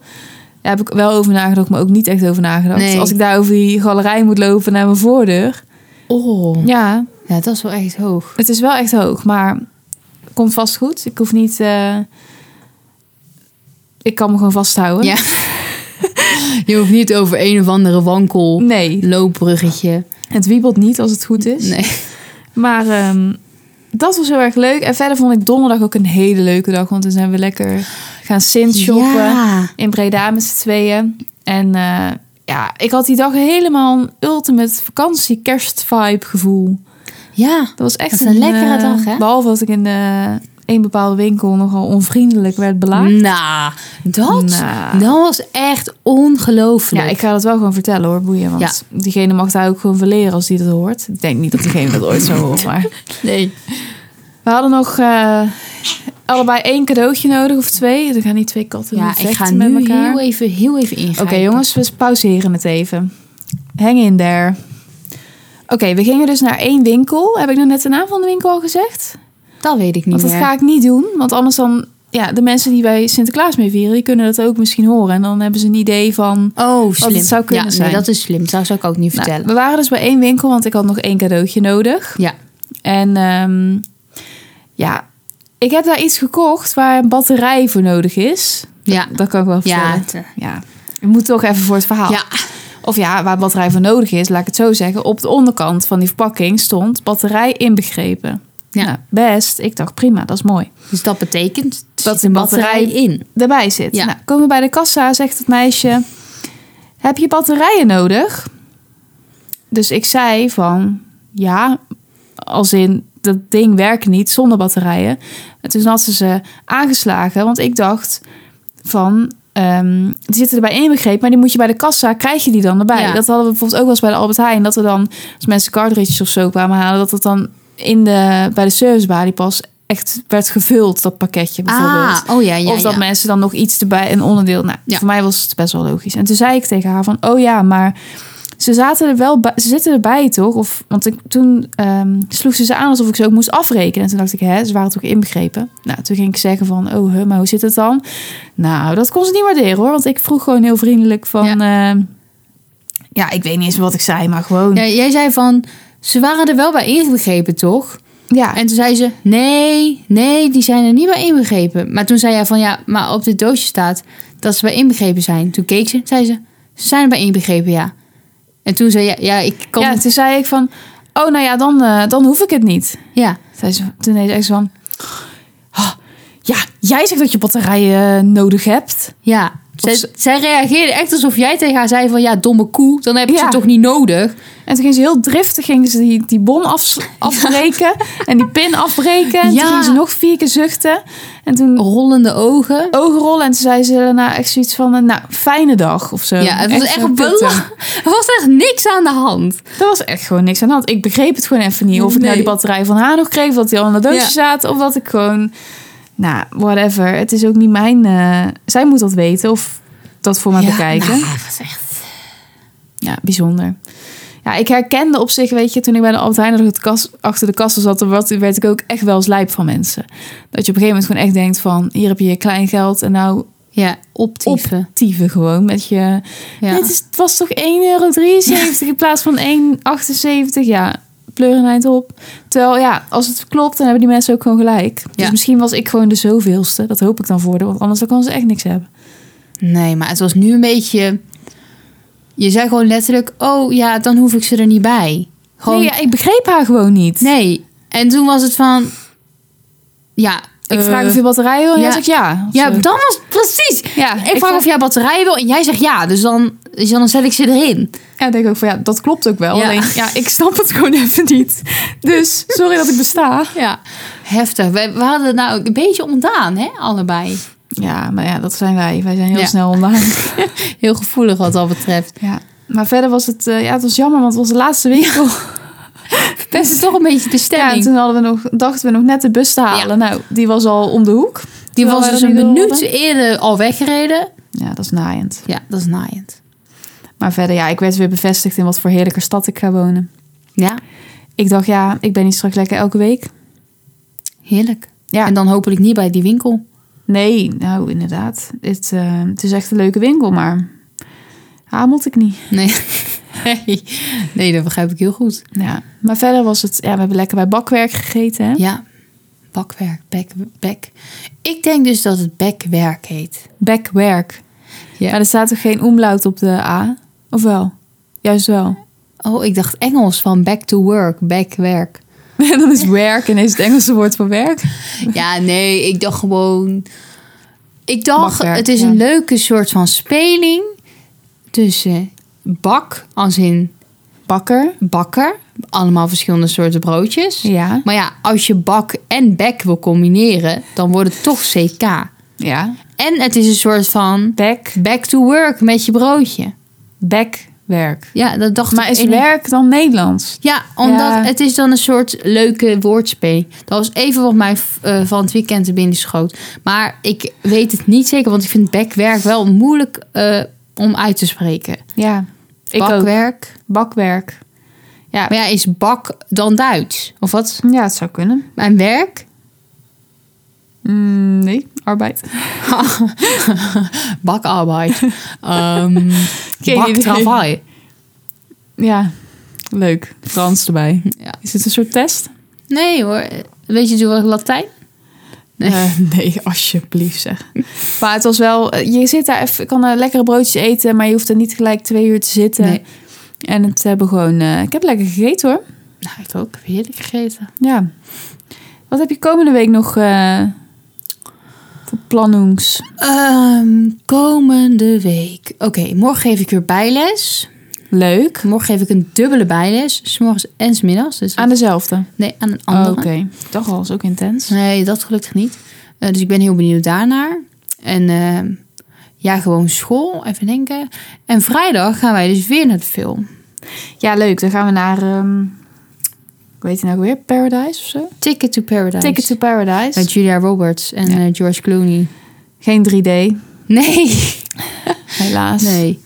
[SPEAKER 1] Daar heb ik wel over nagedacht, maar ook niet echt over nagedacht.
[SPEAKER 2] Nee.
[SPEAKER 1] Als ik daar over die galerij moet lopen naar mijn voordeur.
[SPEAKER 2] Oh,
[SPEAKER 1] Ja,
[SPEAKER 2] ja, dat is wel echt hoog.
[SPEAKER 1] het is wel echt hoog, maar komt vast goed. Ik hoef niet. eh, ik kan me gewoon vasthouden.
[SPEAKER 2] Ja. je hoeft niet over een of andere wankel
[SPEAKER 1] Nee,
[SPEAKER 2] loopbruggetje.
[SPEAKER 1] het wiebelt niet als het goed is.
[SPEAKER 2] Nee.
[SPEAKER 1] Maar ehm, dat was heel erg leuk. En verder vond ik donderdag ook een hele leuke dag. Want toen zijn we lekker gaan Sint shoppen.
[SPEAKER 2] Ja.
[SPEAKER 1] in Breda met z'n tweeën. En eh, ja, ik had die dag helemaal een ultimate vakantie, kerstvibe gevoel.
[SPEAKER 2] ja.
[SPEAKER 1] Dat was echt
[SPEAKER 2] Dat is een lekkere
[SPEAKER 1] eh,
[SPEAKER 2] dag, hè?
[SPEAKER 1] Behalve dat ik in eh een bepaalde winkel nogal onvriendelijk werd belaagd.
[SPEAKER 2] Nou, dat,
[SPEAKER 1] Nou.
[SPEAKER 2] dat was echt ongelooflijk.
[SPEAKER 1] Ja, ik ga dat wel gewoon vertellen hoor, boeien. Want diegene mag daar ook gewoon verleren als die dat hoort. Ik denk niet dat diegene dat ooit zou horen, maar...
[SPEAKER 2] Nee.
[SPEAKER 1] We hadden nog eh, allebei één cadeautje nodig of twee. Er gaan niet twee katten
[SPEAKER 2] Ja,
[SPEAKER 1] vechten
[SPEAKER 2] ik ga
[SPEAKER 1] met
[SPEAKER 2] nu
[SPEAKER 1] elkaar.
[SPEAKER 2] heel even, heel even
[SPEAKER 1] Oké
[SPEAKER 2] ingrijpen.
[SPEAKER 1] jongens, we pauzeren het even. Hang in there. Oké, we gingen dus naar één winkel. Heb ik nou net de naam van de winkel al gezegd?
[SPEAKER 2] Dat weet ik niet
[SPEAKER 1] Want dat
[SPEAKER 2] meer.
[SPEAKER 1] ga ik niet doen. Want anders dan... Ja, de mensen die bij Sinterklaas mee vieren... die kunnen dat ook misschien horen. En dan hebben ze een idee van...
[SPEAKER 2] Oh, slim.
[SPEAKER 1] het zou kunnen
[SPEAKER 2] ja,
[SPEAKER 1] zijn.
[SPEAKER 2] Nee, dat is slim. Dat zou ik ook niet
[SPEAKER 1] Nou,
[SPEAKER 2] vertellen.
[SPEAKER 1] we waren dus bij één winkel, want ik had nog één cadeautje nodig.
[SPEAKER 2] Ja.
[SPEAKER 1] En ehm, ja, ik heb daar iets gekocht waar een batterij voor nodig is.
[SPEAKER 2] Ja.
[SPEAKER 1] Dat kan ik wel
[SPEAKER 2] Ja.
[SPEAKER 1] vertellen. Ja. Ik moet toch even voor het verhaal.
[SPEAKER 2] eh, Ja.
[SPEAKER 1] Of ja, waar batterij voor nodig is, laat ik het zo zeggen. Op de onderkant van die verpakking stond batterij inbegrepen.
[SPEAKER 2] Ja.
[SPEAKER 1] Nou, best. Ik dacht prima, dat is mooi.
[SPEAKER 2] Dus dat betekent er
[SPEAKER 1] Dat
[SPEAKER 2] zit
[SPEAKER 1] de batterij-
[SPEAKER 2] in.
[SPEAKER 1] Daarbij zit.
[SPEAKER 2] Ja.
[SPEAKER 1] Nou, komen we bij de kassa, zegt het meisje. Heb je batterijen nodig? Dus ik zei van ja, als in dat ding werkt niet zonder batterijen. En toen had ze ze aangeslagen, want ik dacht van ehm, die zitten er bij inbegrepen, maar die moet je bij de kassa krijg je die dan erbij.
[SPEAKER 2] Ja.
[SPEAKER 1] Dat hadden we bijvoorbeeld ook wel eens bij de Albert Heijn dat we dan als mensen cartridges of zo kwamen halen, dat het dan in de bij de servicebalie pas echt werd gevuld dat pakketje bijvoorbeeld
[SPEAKER 2] Ah, oh ja, ja,
[SPEAKER 1] of dat
[SPEAKER 2] ja.
[SPEAKER 1] mensen dan nog iets erbij, een onderdeel. Nou,
[SPEAKER 2] Ja.
[SPEAKER 1] voor mij was het best wel logisch. En toen zei ik tegen haar van, oh ja, maar ze zaten er wel bij, ze zitten erbij toch? Of, want ik, toen ehm, sloeg ze ze aan alsof ik ze ook moest afrekenen. En toen dacht ik, hè, ze waren toch inbegrepen? Nou, toen ging ik zeggen van, oh, huh, maar hoe zit het dan? Nou, dat kon ze niet waarderen hoor. Want ik vroeg gewoon heel vriendelijk van, ja, ja ik weet niet eens wat ik zei, maar gewoon.
[SPEAKER 2] Ja, jij zei van, ze waren er wel bij inbegrepen, toch?
[SPEAKER 1] ja.
[SPEAKER 2] En toen zei ze, nee, nee, die zijn er niet bij inbegrepen. Maar toen zei jij van, ja, maar op dit doosje staat dat ze bij inbegrepen zijn. Toen keek ze, zei ze, ze zijn er bij inbegrepen, ja. En toen zei jij, ja, ik kan...
[SPEAKER 1] ja,
[SPEAKER 2] Ja,
[SPEAKER 1] toen zei ik van, oh, nou ja, dan, eh, dan hoef ik het niet.
[SPEAKER 2] ja.
[SPEAKER 1] Zei ze, toen deed ze echt zo van... "Ah, ja, jij zegt dat je batterijen eh, nodig hebt.
[SPEAKER 2] Zij, zij reageerde echt alsof jij tegen haar zei van ja, domme koe, dan heb je
[SPEAKER 1] Ja.
[SPEAKER 2] ze toch niet nodig.
[SPEAKER 1] En toen ging ze heel driftig ging ze die, die bon af, afbreken en die pin afbreken. En
[SPEAKER 2] Ja.
[SPEAKER 1] toen ging ze nog vier keer zuchten. En toen
[SPEAKER 2] Rollende ogen.
[SPEAKER 1] ogen rollen. En toen zei ze daarna echt zoiets van, eh, nou, fijne dag of zo.
[SPEAKER 2] Ja, het was Ehm, echt
[SPEAKER 1] zo pittig.
[SPEAKER 2] belachelijk. Er was echt niks aan de hand.
[SPEAKER 1] eh. Er was echt gewoon niks aan de hand. Ik begreep het gewoon even niet. Of ik nou
[SPEAKER 2] Nee.
[SPEAKER 1] die batterij van haar nog kreeg, of dat die al in dat doosje
[SPEAKER 2] Ja.
[SPEAKER 1] zaten. Of dat ik gewoon, nou, whatever. Het is ook niet mijn... eh, zij moet dat weten of dat voor mij bekijken.
[SPEAKER 2] nou, dat was echt...
[SPEAKER 1] Ja, bijzonder. Ja, ik herkende op zich, weet je, toen ik bij de Albert Heijn achter de kas- achter de kassa zat, dan werd- werd ik ook echt wel eens lijp van mensen. Dat je op een gegeven moment gewoon echt denkt van, hier heb je je kleingeld en nou
[SPEAKER 2] Ja, optieven.
[SPEAKER 1] tieven gewoon met je...
[SPEAKER 2] Ja.
[SPEAKER 1] Dit is, het was toch 1,73 euro in plaats van 1,78? Ja, pleuren eind op. Terwijl ja, als het klopt, dan hebben die mensen ook gewoon gelijk. Dus
[SPEAKER 2] Ja.
[SPEAKER 1] misschien was ik gewoon de zoveelste. Dat hoop ik dan voor de, want anders dan kan ze echt niks hebben.
[SPEAKER 2] Nee, maar het was nu een beetje... Je zei gewoon letterlijk, oh ja, dan hoef ik ze er niet bij. Gewoon,
[SPEAKER 1] Nee, ja, ik begreep haar gewoon niet.
[SPEAKER 2] nee. En toen was het van... Ja,
[SPEAKER 1] Ik
[SPEAKER 2] eh,
[SPEAKER 1] vraag of je batterij wil en jij
[SPEAKER 2] ja.
[SPEAKER 1] zegt ja. Of
[SPEAKER 2] Ja,
[SPEAKER 1] zo.
[SPEAKER 2] dan was precies.
[SPEAKER 1] Ja,
[SPEAKER 2] Ik, vraag of jij batterij wil en jij zegt ja. Dus dan, dus dan zet ik ze erin.
[SPEAKER 1] Ja, dan denk ik ook van ja, dat klopt ook wel.
[SPEAKER 2] Ja.
[SPEAKER 1] Alleen ja, ik snap het gewoon even niet. Dus sorry dat ik besta.
[SPEAKER 2] Ja. Heftig. We, we hadden het nou ook een beetje ontdaan, hè, allebei.
[SPEAKER 1] Ja, maar ja, dat zijn wij. Wij zijn heel
[SPEAKER 2] Ja.
[SPEAKER 1] snel online.
[SPEAKER 2] Heel gevoelig wat dat betreft.
[SPEAKER 1] Ja. Maar verder was het, eh, ja, het was jammer, want het was de laatste winkel.
[SPEAKER 2] Best toch een beetje de
[SPEAKER 1] Ja, en
[SPEAKER 2] stemming.
[SPEAKER 1] toen hadden we nog, dachten we nog net de bus te halen. Nou, die was al om de hoek.
[SPEAKER 2] Die
[SPEAKER 1] Terwijl
[SPEAKER 2] was
[SPEAKER 1] wij
[SPEAKER 2] dus
[SPEAKER 1] er
[SPEAKER 2] een
[SPEAKER 1] niet door
[SPEAKER 2] minuut
[SPEAKER 1] hadden.
[SPEAKER 2] eerder al weggereden.
[SPEAKER 1] Ja, dat is naaiend.
[SPEAKER 2] Ja, dat is naaiend.
[SPEAKER 1] Maar verder, ja, ik werd weer bevestigd in wat voor heerlijke stad ik ga wonen.
[SPEAKER 2] Ja,
[SPEAKER 1] Ik dacht, ja, ik ben hier straks lekker elke week.
[SPEAKER 2] heerlijk.
[SPEAKER 1] Ja.
[SPEAKER 2] En dan hopelijk niet bij die winkel.
[SPEAKER 1] Nee, nou, inderdaad. Het, eh, het is echt een leuke winkel, maar hamelt ik niet.
[SPEAKER 2] Nee. nee. Nee, dat begrijp ik heel goed.
[SPEAKER 1] Ja, maar verder was het... Ja, we hebben lekker bij bakwerk gegeten, hè?
[SPEAKER 2] Ja, bakwerk, bek, bek. Ik denk dus dat het bekwerk heet.
[SPEAKER 1] Bakwerk.
[SPEAKER 2] Ja.
[SPEAKER 1] Maar er staat toch geen omlaut op de A? Of wel? Juist wel.
[SPEAKER 2] Oh, ik dacht Engels van back to work, bekwerk.
[SPEAKER 1] En dan is werk en is het Engelse woord voor werk.
[SPEAKER 2] Ja, nee, ik dacht gewoon. Ik dacht,
[SPEAKER 1] Bakwerk,
[SPEAKER 2] het is
[SPEAKER 1] ja.
[SPEAKER 2] een leuke soort van speling tussen bak, als in
[SPEAKER 1] Bakker.
[SPEAKER 2] bakker, allemaal verschillende soorten broodjes.
[SPEAKER 1] Ja.
[SPEAKER 2] Maar ja, als je bak en bek wil combineren, dan wordt het toch CK.
[SPEAKER 1] Ja.
[SPEAKER 2] En het is een soort van
[SPEAKER 1] Bek.
[SPEAKER 2] back to work met je broodje.
[SPEAKER 1] Bekwerk.
[SPEAKER 2] Ja, dat dacht
[SPEAKER 1] Maar
[SPEAKER 2] ik.
[SPEAKER 1] is
[SPEAKER 2] en ik-
[SPEAKER 1] werk dan Nederlands?
[SPEAKER 2] Ja, omdat
[SPEAKER 1] Ja.
[SPEAKER 2] het is dan een soort leuke woordspeling. Dat was even wat mij eh, van het weekend te binnen schoot. Maar ik weet het niet zeker, want ik vind bekwerk wel moeilijk eh, om uit te spreken.
[SPEAKER 1] Ja. Ik ook.
[SPEAKER 2] Bakwerk.
[SPEAKER 1] Bakwerk. Ja.
[SPEAKER 2] Maar ja, is bak dan Duits? Of wat?
[SPEAKER 1] ja, het zou kunnen.
[SPEAKER 2] Mijn werk?
[SPEAKER 1] Mm, nee, arbeid.
[SPEAKER 2] Bakarbeid. um,
[SPEAKER 1] idee.
[SPEAKER 2] Baktravail.
[SPEAKER 1] Ja. Leuk. Frans erbij.
[SPEAKER 2] Ja.
[SPEAKER 1] Is dit een soort test?
[SPEAKER 2] Nee hoor. Weet je natuurlijk wel Latijn? Nee.
[SPEAKER 1] Eh, nee, alsjeblieft zeg. Maar het was wel, eh, je zit daar even, kan eh, lekkere broodjes eten, maar je hoeft er niet gelijk twee uur te zitten.
[SPEAKER 2] Nee.
[SPEAKER 1] En het hebben gewoon, eh, ik heb lekker gegeten hoor.
[SPEAKER 2] Nou, ik ook. Heerlijk gegeten.
[SPEAKER 1] Ja. Wat heb je komende week nog eh voor plannings?
[SPEAKER 2] Ehm, komende week. Oké, morgen geef ik weer bijles.
[SPEAKER 1] Leuk.
[SPEAKER 2] Morgen geef ik een dubbele bijles. S'morgens en s'middags. Dus
[SPEAKER 1] Aan dezelfde.
[SPEAKER 2] nee, aan een andere.
[SPEAKER 1] Oh, Oké. Ik dacht al, is ook intens.
[SPEAKER 2] Nee, dat gelukkig niet. Eh, dus ik ben heel benieuwd daarnaar. En ehm, ja, gewoon school. Even denken. En vrijdag gaan wij dus weer naar de film.
[SPEAKER 1] Ja, leuk. Dan gaan we naar, ehm hoe heet die nou ook weer? Paradise of zo?
[SPEAKER 2] Ticket to Paradise.
[SPEAKER 1] Ticket to Paradise.
[SPEAKER 2] Met Julia Roberts en
[SPEAKER 1] Ja.
[SPEAKER 2] eh, George Clooney.
[SPEAKER 1] Geen 3D,
[SPEAKER 2] Nee.
[SPEAKER 1] helaas.
[SPEAKER 2] Nee.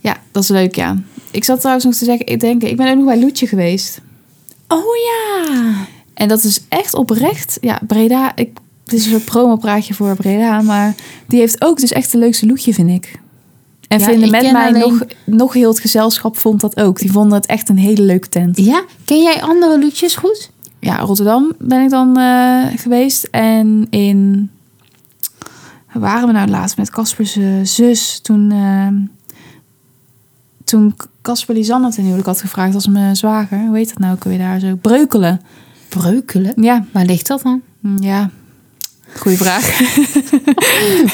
[SPEAKER 1] Ja, dat is leuk, ja. Ik zat trouwens nog te zeggen, ik denk, ik ben ook nog bij Loetje geweest.
[SPEAKER 2] Oh ja.
[SPEAKER 1] En dat is echt oprecht. Ja, Breda, ik, dit is een soort promopraatje voor Breda, maar die heeft ook dus echt de leukste Loetje, vind ik. En
[SPEAKER 2] Ja,
[SPEAKER 1] vinden
[SPEAKER 2] ik
[SPEAKER 1] met
[SPEAKER 2] ken
[SPEAKER 1] mij
[SPEAKER 2] alleen-
[SPEAKER 1] nog, nog heel het gezelschap vond dat ook. Die vonden het echt een hele leuke tent.
[SPEAKER 2] Ja? Ken jij andere liedjes goed?
[SPEAKER 1] Ja, Rotterdam ben ik dan eh, geweest. En in... Waar waren we nou laatst? Met Casper's eh, zus. Toen, eh, toen Casper Lisanne ten huwelijk had gevraagd als mijn zwager. Hoe heet dat nou ook weer daar zo? Breukelen.
[SPEAKER 2] Breukelen.
[SPEAKER 1] Ja,
[SPEAKER 2] Waar ligt dat dan?
[SPEAKER 1] ja. Goeie vraag.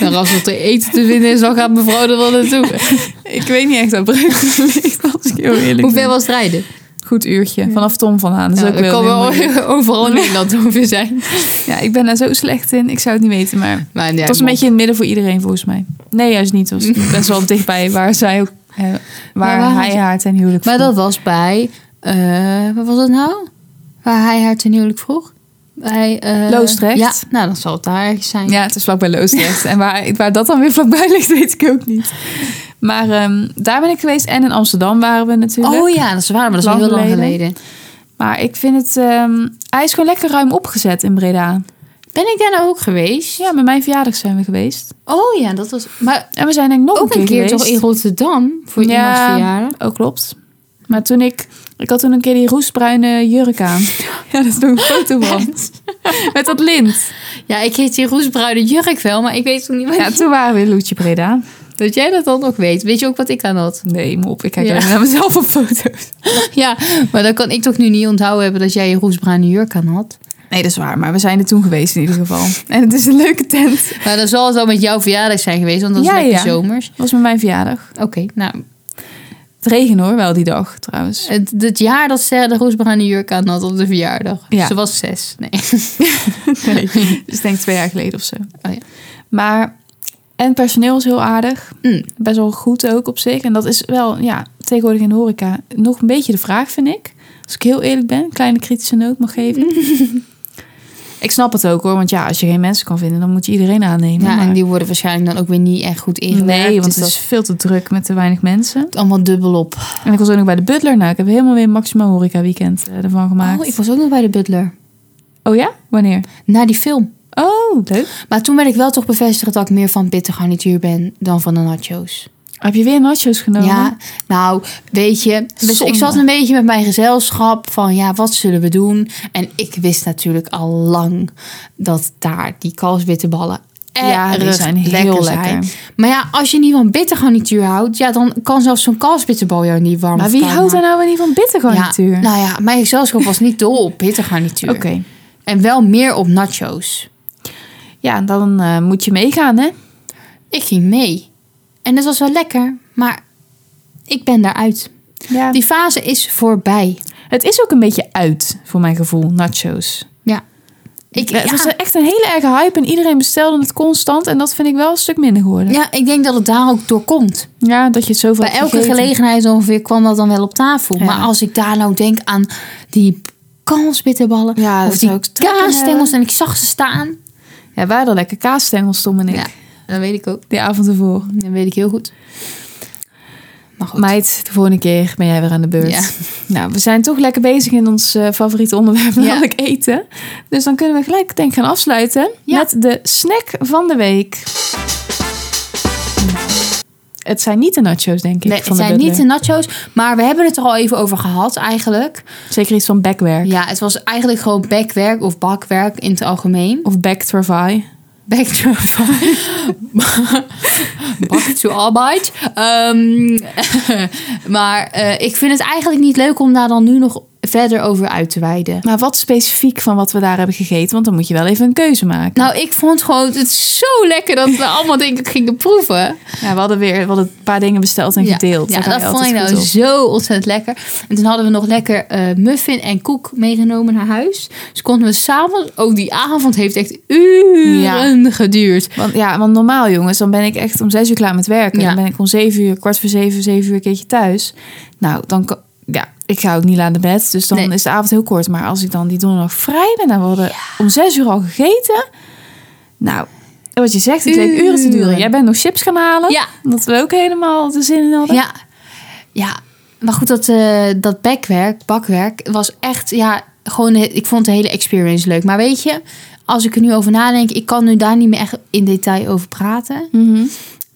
[SPEAKER 2] Nou, als er te eten te vinden is, dan gaat mevrouw er wel naartoe.
[SPEAKER 1] ik weet niet echt waar Breukelen ligt, als ik heel eerlijk
[SPEAKER 2] Hoeveel
[SPEAKER 1] ben.
[SPEAKER 2] was het rijden?
[SPEAKER 1] Goed uurtje. Vanaf Tom vandaan. Dat is
[SPEAKER 2] Nou,
[SPEAKER 1] ook
[SPEAKER 2] dat
[SPEAKER 1] wel
[SPEAKER 2] kan
[SPEAKER 1] heel
[SPEAKER 2] wel
[SPEAKER 1] moeilijk.
[SPEAKER 2] overal in Nederland ongeveer zijn.
[SPEAKER 1] Ja, ik ben daar zo slecht in. Ik zou het niet weten, maar...
[SPEAKER 2] Maar ja,
[SPEAKER 1] het was een beetje in het midden voor iedereen, volgens mij. Nee, juist niet. Het was best wel dichtbij waar zij ook... eh, waar,
[SPEAKER 2] Maar waar had
[SPEAKER 1] hij
[SPEAKER 2] je-
[SPEAKER 1] haar ten huwelijk
[SPEAKER 2] Maar
[SPEAKER 1] vroeg.
[SPEAKER 2] dat was bij... eh wat was dat nou? Waar hij haar ten huwelijk vroeg? Bij, eh,
[SPEAKER 1] Loosdrecht?
[SPEAKER 2] Ja, nou dan zal het daar ergens zijn.
[SPEAKER 1] Ja, het is vlakbij Loosdrecht. en waar, waar dat dan weer vlakbij ligt, weet ik ook niet. Maar ehm, daar ben ik geweest. En in Amsterdam waren we natuurlijk.
[SPEAKER 2] Oh ja, dat is waar, maar dat is al
[SPEAKER 1] Lang
[SPEAKER 2] heel lang
[SPEAKER 1] geleden.
[SPEAKER 2] geleden.
[SPEAKER 1] Maar ik vind het... ehm, hij is gewoon lekker ruim opgezet in Breda.
[SPEAKER 2] Ben ik daar nou ook geweest?
[SPEAKER 1] Ja, met mijn verjaardag zijn we geweest.
[SPEAKER 2] Oh ja, dat was... Maar
[SPEAKER 1] En we zijn denk ik nog
[SPEAKER 2] ook een keer toch
[SPEAKER 1] geweest.
[SPEAKER 2] in Rotterdam voor
[SPEAKER 1] Ja.
[SPEAKER 2] iemands verjaardag.
[SPEAKER 1] Oh, klopt. Maar toen ik... Ik had toen een keer die roesbruine jurk aan. Ja, dat is nog een foto van. Met dat lint.
[SPEAKER 2] Ja, ik heet die roesbruine jurk wel, maar ik weet toen niet wat
[SPEAKER 1] Ja, toen waren we in Loetje Breda.
[SPEAKER 2] Dat jij dat dan ook weet. Weet je ook wat ik aan had?
[SPEAKER 1] Nee, mop. Ik kijk
[SPEAKER 2] Ja.
[SPEAKER 1] alleen naar mezelf op foto's.
[SPEAKER 2] Ja, maar dan kan ik toch nu niet onthouden hebben dat jij je roesbruine jurk aan had.
[SPEAKER 1] Nee, dat is waar. Maar we zijn er toen geweest in ieder geval. En het is een leuke tent.
[SPEAKER 2] Maar Nou, dan zal het wel met jouw verjaardag zijn geweest, want dat is
[SPEAKER 1] Ja,
[SPEAKER 2] lekker
[SPEAKER 1] ja.
[SPEAKER 2] zomers.
[SPEAKER 1] was met mijn verjaardag.
[SPEAKER 2] Oké, nou,
[SPEAKER 1] Het regen hoor, wel die dag trouwens.
[SPEAKER 2] het, het jaar dat Sarah de roesbruine jurk aan had op de verjaardag.
[SPEAKER 1] Ja.
[SPEAKER 2] Ze was zes. Nee.
[SPEAKER 1] Dus ik denk twee jaar geleden of zo.
[SPEAKER 2] Oh ja.
[SPEAKER 1] Maar, en het personeel was heel aardig.
[SPEAKER 2] Mm.
[SPEAKER 1] Best wel goed ook op zich. En dat is wel, ja, tegenwoordig in de horeca nog een beetje de vraag, vind ik. Als ik heel eerlijk ben, kleine kritische noot mag geven. ik snap het ook hoor, want ja, als je geen mensen kan vinden, dan moet je iedereen aannemen.
[SPEAKER 2] Ja,
[SPEAKER 1] maar-
[SPEAKER 2] en die worden waarschijnlijk dan ook weer niet echt goed ingewerkt.
[SPEAKER 1] nee, want
[SPEAKER 2] dus
[SPEAKER 1] het
[SPEAKER 2] dat
[SPEAKER 1] is veel te druk met te weinig mensen.
[SPEAKER 2] allemaal dubbel op.
[SPEAKER 1] En ik was ook nog bij de Butler. Nou, ik heb helemaal weer een maximaal horeca weekend eh, ervan gemaakt.
[SPEAKER 2] Oh, ik was ook nog bij de butler.
[SPEAKER 1] oh ja? Wanneer?
[SPEAKER 2] Na die film.
[SPEAKER 1] Oh, leuk.
[SPEAKER 2] Maar toen werd ik wel toch bevestigd dat ik meer van pittig garnituur ben dan van de nachos.
[SPEAKER 1] Heb je weer nachos genomen?
[SPEAKER 2] Ja, nou, weet je, dus
[SPEAKER 1] Zonde.
[SPEAKER 2] ik zat een beetje met mijn gezelschap van ja, wat zullen we doen? En ik wist natuurlijk al lang dat daar die kalfsbitterballen
[SPEAKER 1] Ja, die
[SPEAKER 2] erg
[SPEAKER 1] zijn heel lekker.
[SPEAKER 2] Maar ja, als je niet van bitter garnituur houdt, ja, dan kan zelfs zo'n kalfsbitterbal jou niet warm
[SPEAKER 1] Maar
[SPEAKER 2] of
[SPEAKER 1] wie
[SPEAKER 2] koud
[SPEAKER 1] houdt er
[SPEAKER 2] maken.
[SPEAKER 1] nou weer niet van bittergarnituur?
[SPEAKER 2] Ja, nou ja, mijn gezelschap was niet dol op bitter garnituur.
[SPEAKER 1] Oké.
[SPEAKER 2] En wel meer op nachos.
[SPEAKER 1] Ja, dan eh, moet je meegaan, hè?
[SPEAKER 2] Ik ging mee. En dat was wel lekker, maar ik ben daaruit.
[SPEAKER 1] Ja.
[SPEAKER 2] Die fase is voorbij.
[SPEAKER 1] Het is ook een beetje uit, voor mijn gevoel, nachos.
[SPEAKER 2] Ja. Eh, dus, Ik,
[SPEAKER 1] Het was
[SPEAKER 2] ja,
[SPEAKER 1] echt een hele erge hype en iedereen bestelde het constant. En dat vind ik wel een stuk minder geworden.
[SPEAKER 2] ja, ik denk dat het daar ook door komt.
[SPEAKER 1] Ja, dat je het zoveel
[SPEAKER 2] Bij
[SPEAKER 1] hebt
[SPEAKER 2] elke
[SPEAKER 1] gegeten.
[SPEAKER 2] gelegenheid ongeveer kwam dat dan wel op tafel.
[SPEAKER 1] Ja.
[SPEAKER 2] Maar als ik daar nou denk aan die kalfsbitterballen
[SPEAKER 1] Ja, dat
[SPEAKER 2] of
[SPEAKER 1] zou
[SPEAKER 2] die
[SPEAKER 1] ik trek in
[SPEAKER 2] kaasstengels
[SPEAKER 1] hebben.
[SPEAKER 2] en ik zag ze staan.
[SPEAKER 1] Ja, wij hadden lekker kaasstengels, Tom en ik.
[SPEAKER 2] Ja, dat weet ik ook.
[SPEAKER 1] Die avond ervoor.
[SPEAKER 2] Dat weet ik heel goed. Maar goed.
[SPEAKER 1] Meid, de volgende keer ben jij weer aan de beurt.
[SPEAKER 2] Ja.
[SPEAKER 1] Nou, we zijn toch lekker bezig in ons eh, favoriete onderwerp,
[SPEAKER 2] Ja.
[SPEAKER 1] namelijk eten. Dus dan kunnen we gelijk denk ik gaan afsluiten
[SPEAKER 2] Ja.
[SPEAKER 1] met de snack van de week. Het zijn niet de nachos, denk ik.
[SPEAKER 2] Nee,
[SPEAKER 1] van
[SPEAKER 2] het
[SPEAKER 1] de
[SPEAKER 2] zijn niet
[SPEAKER 1] Butler.
[SPEAKER 2] de nachos, maar we hebben het er al even over gehad eigenlijk.
[SPEAKER 1] Zeker iets van backwerk.
[SPEAKER 2] Ja, het was eigenlijk gewoon backwerk of bakwerk in het algemeen.
[SPEAKER 1] Of back travai.
[SPEAKER 2] Back to Back to arbeid. Ehm, maar eh, ik vind het eigenlijk niet leuk om daar dan nu nog verder over uit te wijden.
[SPEAKER 1] Maar wat specifiek van wat we daar hebben gegeten? Want dan moet je wel even een keuze maken.
[SPEAKER 2] Nou, ik vond gewoon het zo lekker dat we allemaal denk ik gingen proeven.
[SPEAKER 1] Ja, we hadden weer we hadden een paar dingen besteld en
[SPEAKER 2] Ja,
[SPEAKER 1] gedeeld.
[SPEAKER 2] Ja,
[SPEAKER 1] Daar ga je
[SPEAKER 2] dat vond ik
[SPEAKER 1] altijd
[SPEAKER 2] nou
[SPEAKER 1] goed op.
[SPEAKER 2] zo ontzettend lekker. En toen hadden we nog lekker eh, muffin en koek meegenomen naar huis. Dus konden we s'avonds, ook die avond heeft echt uren geduurd.
[SPEAKER 1] Want, ja, want normaal jongens, dan ben ik echt om zes uur klaar met werken.
[SPEAKER 2] Ja.
[SPEAKER 1] Dan ben ik om zeven uur, kwart voor zeven, zeven uur een keertje thuis. Nou, dan kan- ja, ik ga ook niet laat naar bed. Dus dan
[SPEAKER 2] Nee.
[SPEAKER 1] is de avond heel kort. Maar als ik dan die donderdag vrij ben, dan worden om zes uur al gegeten. Nou, wat je zegt, het leek uren te duren.
[SPEAKER 2] Uren.
[SPEAKER 1] Jij bent nog chips gaan halen.
[SPEAKER 2] Ja.
[SPEAKER 1] Omdat we ook helemaal de zin in hadden.
[SPEAKER 2] Ja, ja. maar goed, dat, eh, dat backwerk, bakwerk, was echt, ja, gewoon, eh, ik vond de hele experience leuk. Maar weet je, als ik er nu over nadenk, ik kan nu daar niet meer echt in detail over praten.
[SPEAKER 1] Mhm.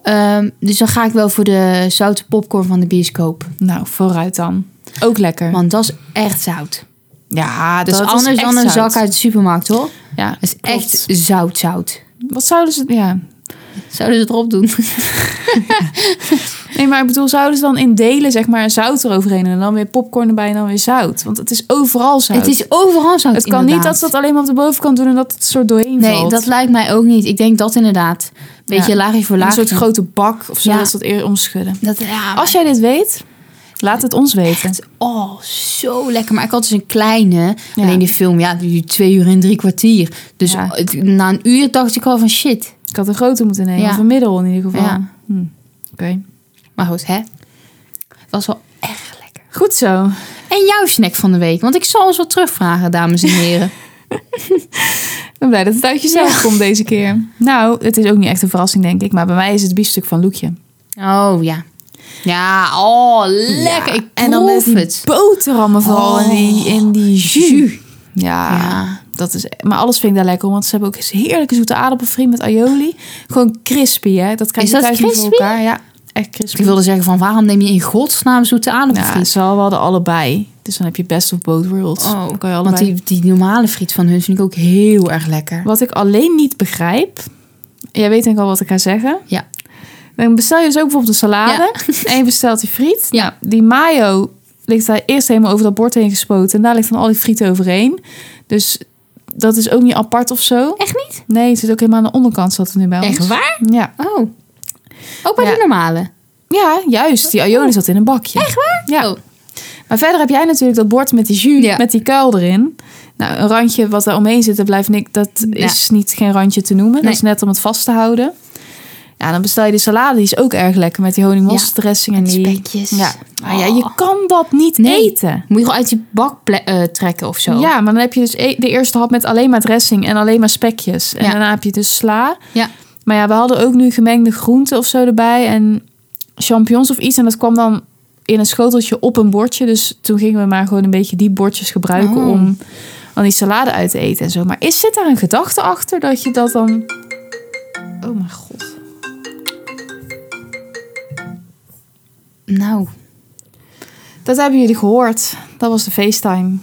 [SPEAKER 2] Ehm, dus dan ga ik wel voor de zoute popcorn van de bioscoop.
[SPEAKER 1] Nou, vooruit dan. Ook lekker.
[SPEAKER 2] Want dat is echt zout.
[SPEAKER 1] Ja, dus
[SPEAKER 2] Dat is
[SPEAKER 1] was
[SPEAKER 2] anders
[SPEAKER 1] echt
[SPEAKER 2] dan een
[SPEAKER 1] zout.
[SPEAKER 2] zak uit de supermarkt, hoor.
[SPEAKER 1] Ja,
[SPEAKER 2] Dat is
[SPEAKER 1] klopt.
[SPEAKER 2] echt zout, zout.
[SPEAKER 1] Wat zouden ze... Ja.
[SPEAKER 2] Zouden ze het erop doen?
[SPEAKER 1] Nee, maar ik bedoel, zouden ze dan in delen zeg maar zout eroverheen en dan weer popcorn erbij en dan weer zout? Want het is overal zout.
[SPEAKER 2] Het is overal zout.
[SPEAKER 1] Het kan niet dat ze dat alleen maar op de bovenkant doen en dat het soort doorheen
[SPEAKER 2] Nee,
[SPEAKER 1] valt.
[SPEAKER 2] dat lijkt mij ook niet. Ik denk dat inderdaad. Beetje
[SPEAKER 1] Ja.
[SPEAKER 2] laagje voor
[SPEAKER 1] een
[SPEAKER 2] laagje.
[SPEAKER 1] soort grote bak of zo,
[SPEAKER 2] Ja.
[SPEAKER 1] dat ze dat eerder omschudden.
[SPEAKER 2] Dat, ja,
[SPEAKER 1] Als jij dit weet, laat het ons weten.
[SPEAKER 2] Oh, zo lekker. Maar ik had dus een kleine.
[SPEAKER 1] Ja.
[SPEAKER 2] Alleen die film, ja, die duurt twee uur en drie kwartier. Dus
[SPEAKER 1] Ja.
[SPEAKER 2] het- na een uur dacht ik al van shit.
[SPEAKER 1] Ik had een grote moeten nemen,
[SPEAKER 2] Ja.
[SPEAKER 1] of een middel in ieder geval.
[SPEAKER 2] Ja.
[SPEAKER 1] Hm. Oké.
[SPEAKER 2] Maar goed, hè? Het was wel erg lekker.
[SPEAKER 1] Goed zo.
[SPEAKER 2] En jouw snack van de week? Want ik zal ons wat terugvragen, dames en heren.
[SPEAKER 1] Ik ben blij dat het uit jezelf komt deze keer. Nou, het is ook niet echt een verrassing, denk ik. Maar bij mij is het biefstuk van Loekje.
[SPEAKER 2] oh ja. Ja, oh, lekker. Ik
[SPEAKER 1] en dan met
[SPEAKER 2] proef
[SPEAKER 1] die
[SPEAKER 2] het. Oh.
[SPEAKER 1] boterhammen vooral in, die, in die jus.
[SPEAKER 2] Jus.
[SPEAKER 1] Ja,
[SPEAKER 2] Ja.
[SPEAKER 1] Dat is, maar alles vind ik daar lekker om. Want ze hebben ook eens heerlijke zoete aardappelfriet met aioli. Gewoon crispy, hè. Dat krijg
[SPEAKER 2] Is
[SPEAKER 1] je
[SPEAKER 2] dat
[SPEAKER 1] thuis niet voor
[SPEAKER 2] crispy?
[SPEAKER 1] elkaar. Ja, echt crispy.
[SPEAKER 2] Ik wilde zeggen van waarom neem je in godsnaam zoete
[SPEAKER 1] Ja, het
[SPEAKER 2] aardappelfriet?
[SPEAKER 1] zal wel de allebei. Dus dan heb je best of both worlds. Dan kan je
[SPEAKER 2] want
[SPEAKER 1] allebei.
[SPEAKER 2] die, die normale friet van hun vind ik ook heel erg lekker.
[SPEAKER 1] Wat ik alleen niet begrijp... Jij weet denk ik al wat ik ga zeggen.
[SPEAKER 2] Ja.
[SPEAKER 1] Dan bestel je dus ook bijvoorbeeld een salade. En je bestelt die friet.
[SPEAKER 2] Ja.
[SPEAKER 1] Nou, die mayo ligt daar eerst helemaal over dat bord heen gespoten. En daar ligt dan al die friet overheen. Dus dat is ook niet apart of zo.
[SPEAKER 2] Echt niet?
[SPEAKER 1] Nee, het zit ook helemaal aan de onderkant zat het nu bij ons.
[SPEAKER 2] Echt waar?
[SPEAKER 1] Ja.
[SPEAKER 2] Oh. Ook bij
[SPEAKER 1] Ja.
[SPEAKER 2] die normale?
[SPEAKER 1] Ja, juist. Die aioli zat in een bakje.
[SPEAKER 2] Echt waar?
[SPEAKER 1] Ja.
[SPEAKER 2] Oh.
[SPEAKER 1] Maar verder heb jij natuurlijk dat bord met die jus,
[SPEAKER 2] Ja.
[SPEAKER 1] met die kuil erin. Nou, een randje wat daar omheen zit, dat blijft niks. Dat
[SPEAKER 2] Ja.
[SPEAKER 1] is niet geen randje te noemen.
[SPEAKER 2] Nee.
[SPEAKER 1] Dat is net om het vast te houden. Ja, dan bestel je de salade. Die is ook erg lekker met die honingmosterd dressing en
[SPEAKER 2] En die
[SPEAKER 1] die
[SPEAKER 2] spekjes.
[SPEAKER 1] Ja. Maar ja,
[SPEAKER 2] Oh.
[SPEAKER 1] je kan dat niet
[SPEAKER 2] Nee.
[SPEAKER 1] eten.
[SPEAKER 2] Moet je gewoon uit die bak ple- eh, trekken of zo?
[SPEAKER 1] Ja, maar dan heb je dus e- de eerste hap met alleen maar dressing en alleen maar spekjes. En
[SPEAKER 2] Ja.
[SPEAKER 1] daarna heb je dus sla.
[SPEAKER 2] Ja.
[SPEAKER 1] Maar ja, we hadden ook nu gemengde groenten of zo erbij. En champignons of iets. En dat kwam dan in een schoteltje op een bordje. Dus toen gingen we maar gewoon een beetje die bordjes gebruiken
[SPEAKER 2] Oh.
[SPEAKER 1] om dan die salade uit te eten en zo. Maar is, zit daar een gedachte achter dat je dat dan... Oh mijn god.
[SPEAKER 2] Nou.
[SPEAKER 1] Dat hebben jullie gehoord. Dat was de FaceTime.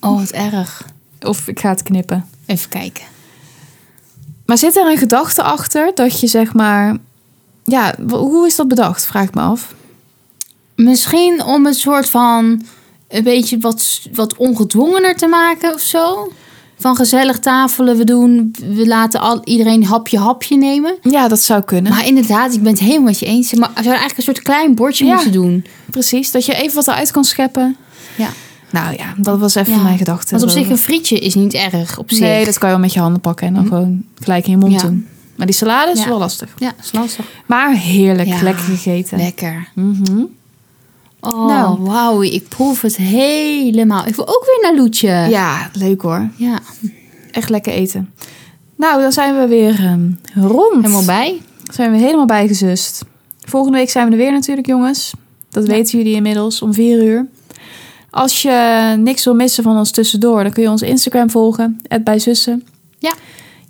[SPEAKER 2] Oh, wat erg.
[SPEAKER 1] Of ik ga het knippen.
[SPEAKER 2] Even kijken.
[SPEAKER 1] Maar zit er een gedachte achter dat je zeg maar... Ja, w- hoe is dat bedacht? Vraag ik me af.
[SPEAKER 2] Misschien om het soort van een beetje wat, wat ongedwongener te maken of zo. Van gezellig tafelen, we doen, we laten al, iedereen hapje hapje nemen.
[SPEAKER 1] Ja, dat zou kunnen.
[SPEAKER 2] Maar inderdaad, ik ben het helemaal met je eens. Maar we zouden eigenlijk een soort klein bordje
[SPEAKER 1] Ja.
[SPEAKER 2] moeten doen.
[SPEAKER 1] Precies, dat je even wat eruit kan scheppen.
[SPEAKER 2] Ja.
[SPEAKER 1] Nou ja, dat was even
[SPEAKER 2] Ja.
[SPEAKER 1] mijn gedachte.
[SPEAKER 2] Want op zich,
[SPEAKER 1] erover.
[SPEAKER 2] een frietje is niet erg. Op zich.
[SPEAKER 1] Nee, dat kan je wel met je handen pakken en dan gewoon gelijk in je mond
[SPEAKER 2] Ja.
[SPEAKER 1] doen. Maar die salade is
[SPEAKER 2] Ja.
[SPEAKER 1] wel lastig.
[SPEAKER 2] Ja, is lastig.
[SPEAKER 1] Maar heerlijk,
[SPEAKER 2] Ja.
[SPEAKER 1] lekker gegeten.
[SPEAKER 2] Lekker.
[SPEAKER 1] Mhm.
[SPEAKER 2] Oh,
[SPEAKER 1] Nou.
[SPEAKER 2] wauw. Ik proef het helemaal. Ik wil ook weer naar Loetje.
[SPEAKER 1] Ja, leuk hoor.
[SPEAKER 2] Ja.
[SPEAKER 1] Echt lekker eten. Nou, dan zijn we weer ehm, rond.
[SPEAKER 2] Helemaal bij.
[SPEAKER 1] Zijn we helemaal bijgezust. Volgende week zijn we er weer natuurlijk, jongens. Dat
[SPEAKER 2] Ja.
[SPEAKER 1] weten jullie inmiddels, om vier uur. Als je niks wil missen van ons tussendoor, dan kun je ons Instagram volgen, @bijzussen.
[SPEAKER 2] Ja.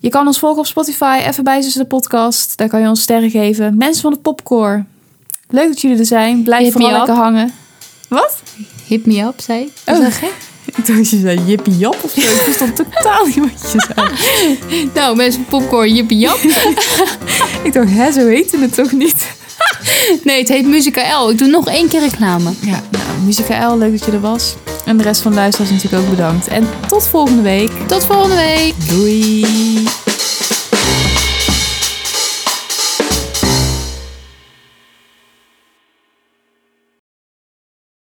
[SPEAKER 1] Je kan ons volgen op Spotify, even bij Zussen de podcast. Daar kan je ons sterren geven. Mensen van het popcorn. Leuk dat jullie er zijn. Blijf
[SPEAKER 2] Hit
[SPEAKER 1] vooral
[SPEAKER 2] me up.
[SPEAKER 1] lekker hangen. Wat?
[SPEAKER 2] Hip me up, zei ik.
[SPEAKER 1] Oh.
[SPEAKER 2] Is dat gek?
[SPEAKER 1] Ik dacht je zei jippie jap of zo. Ik verstond totaal niet wat je zei.
[SPEAKER 2] Nou, mensen, popcorn, jippie jap.
[SPEAKER 1] Ik dacht, hè, zo heette het toch niet?
[SPEAKER 2] Nee, het heet Musica L. Ik doe nog één keer reclame.
[SPEAKER 1] Ja, nou, Musica L, leuk dat je er was. En de rest van de luisteraars natuurlijk ook bedankt. En tot volgende week.
[SPEAKER 2] Tot volgende week.
[SPEAKER 1] Doei!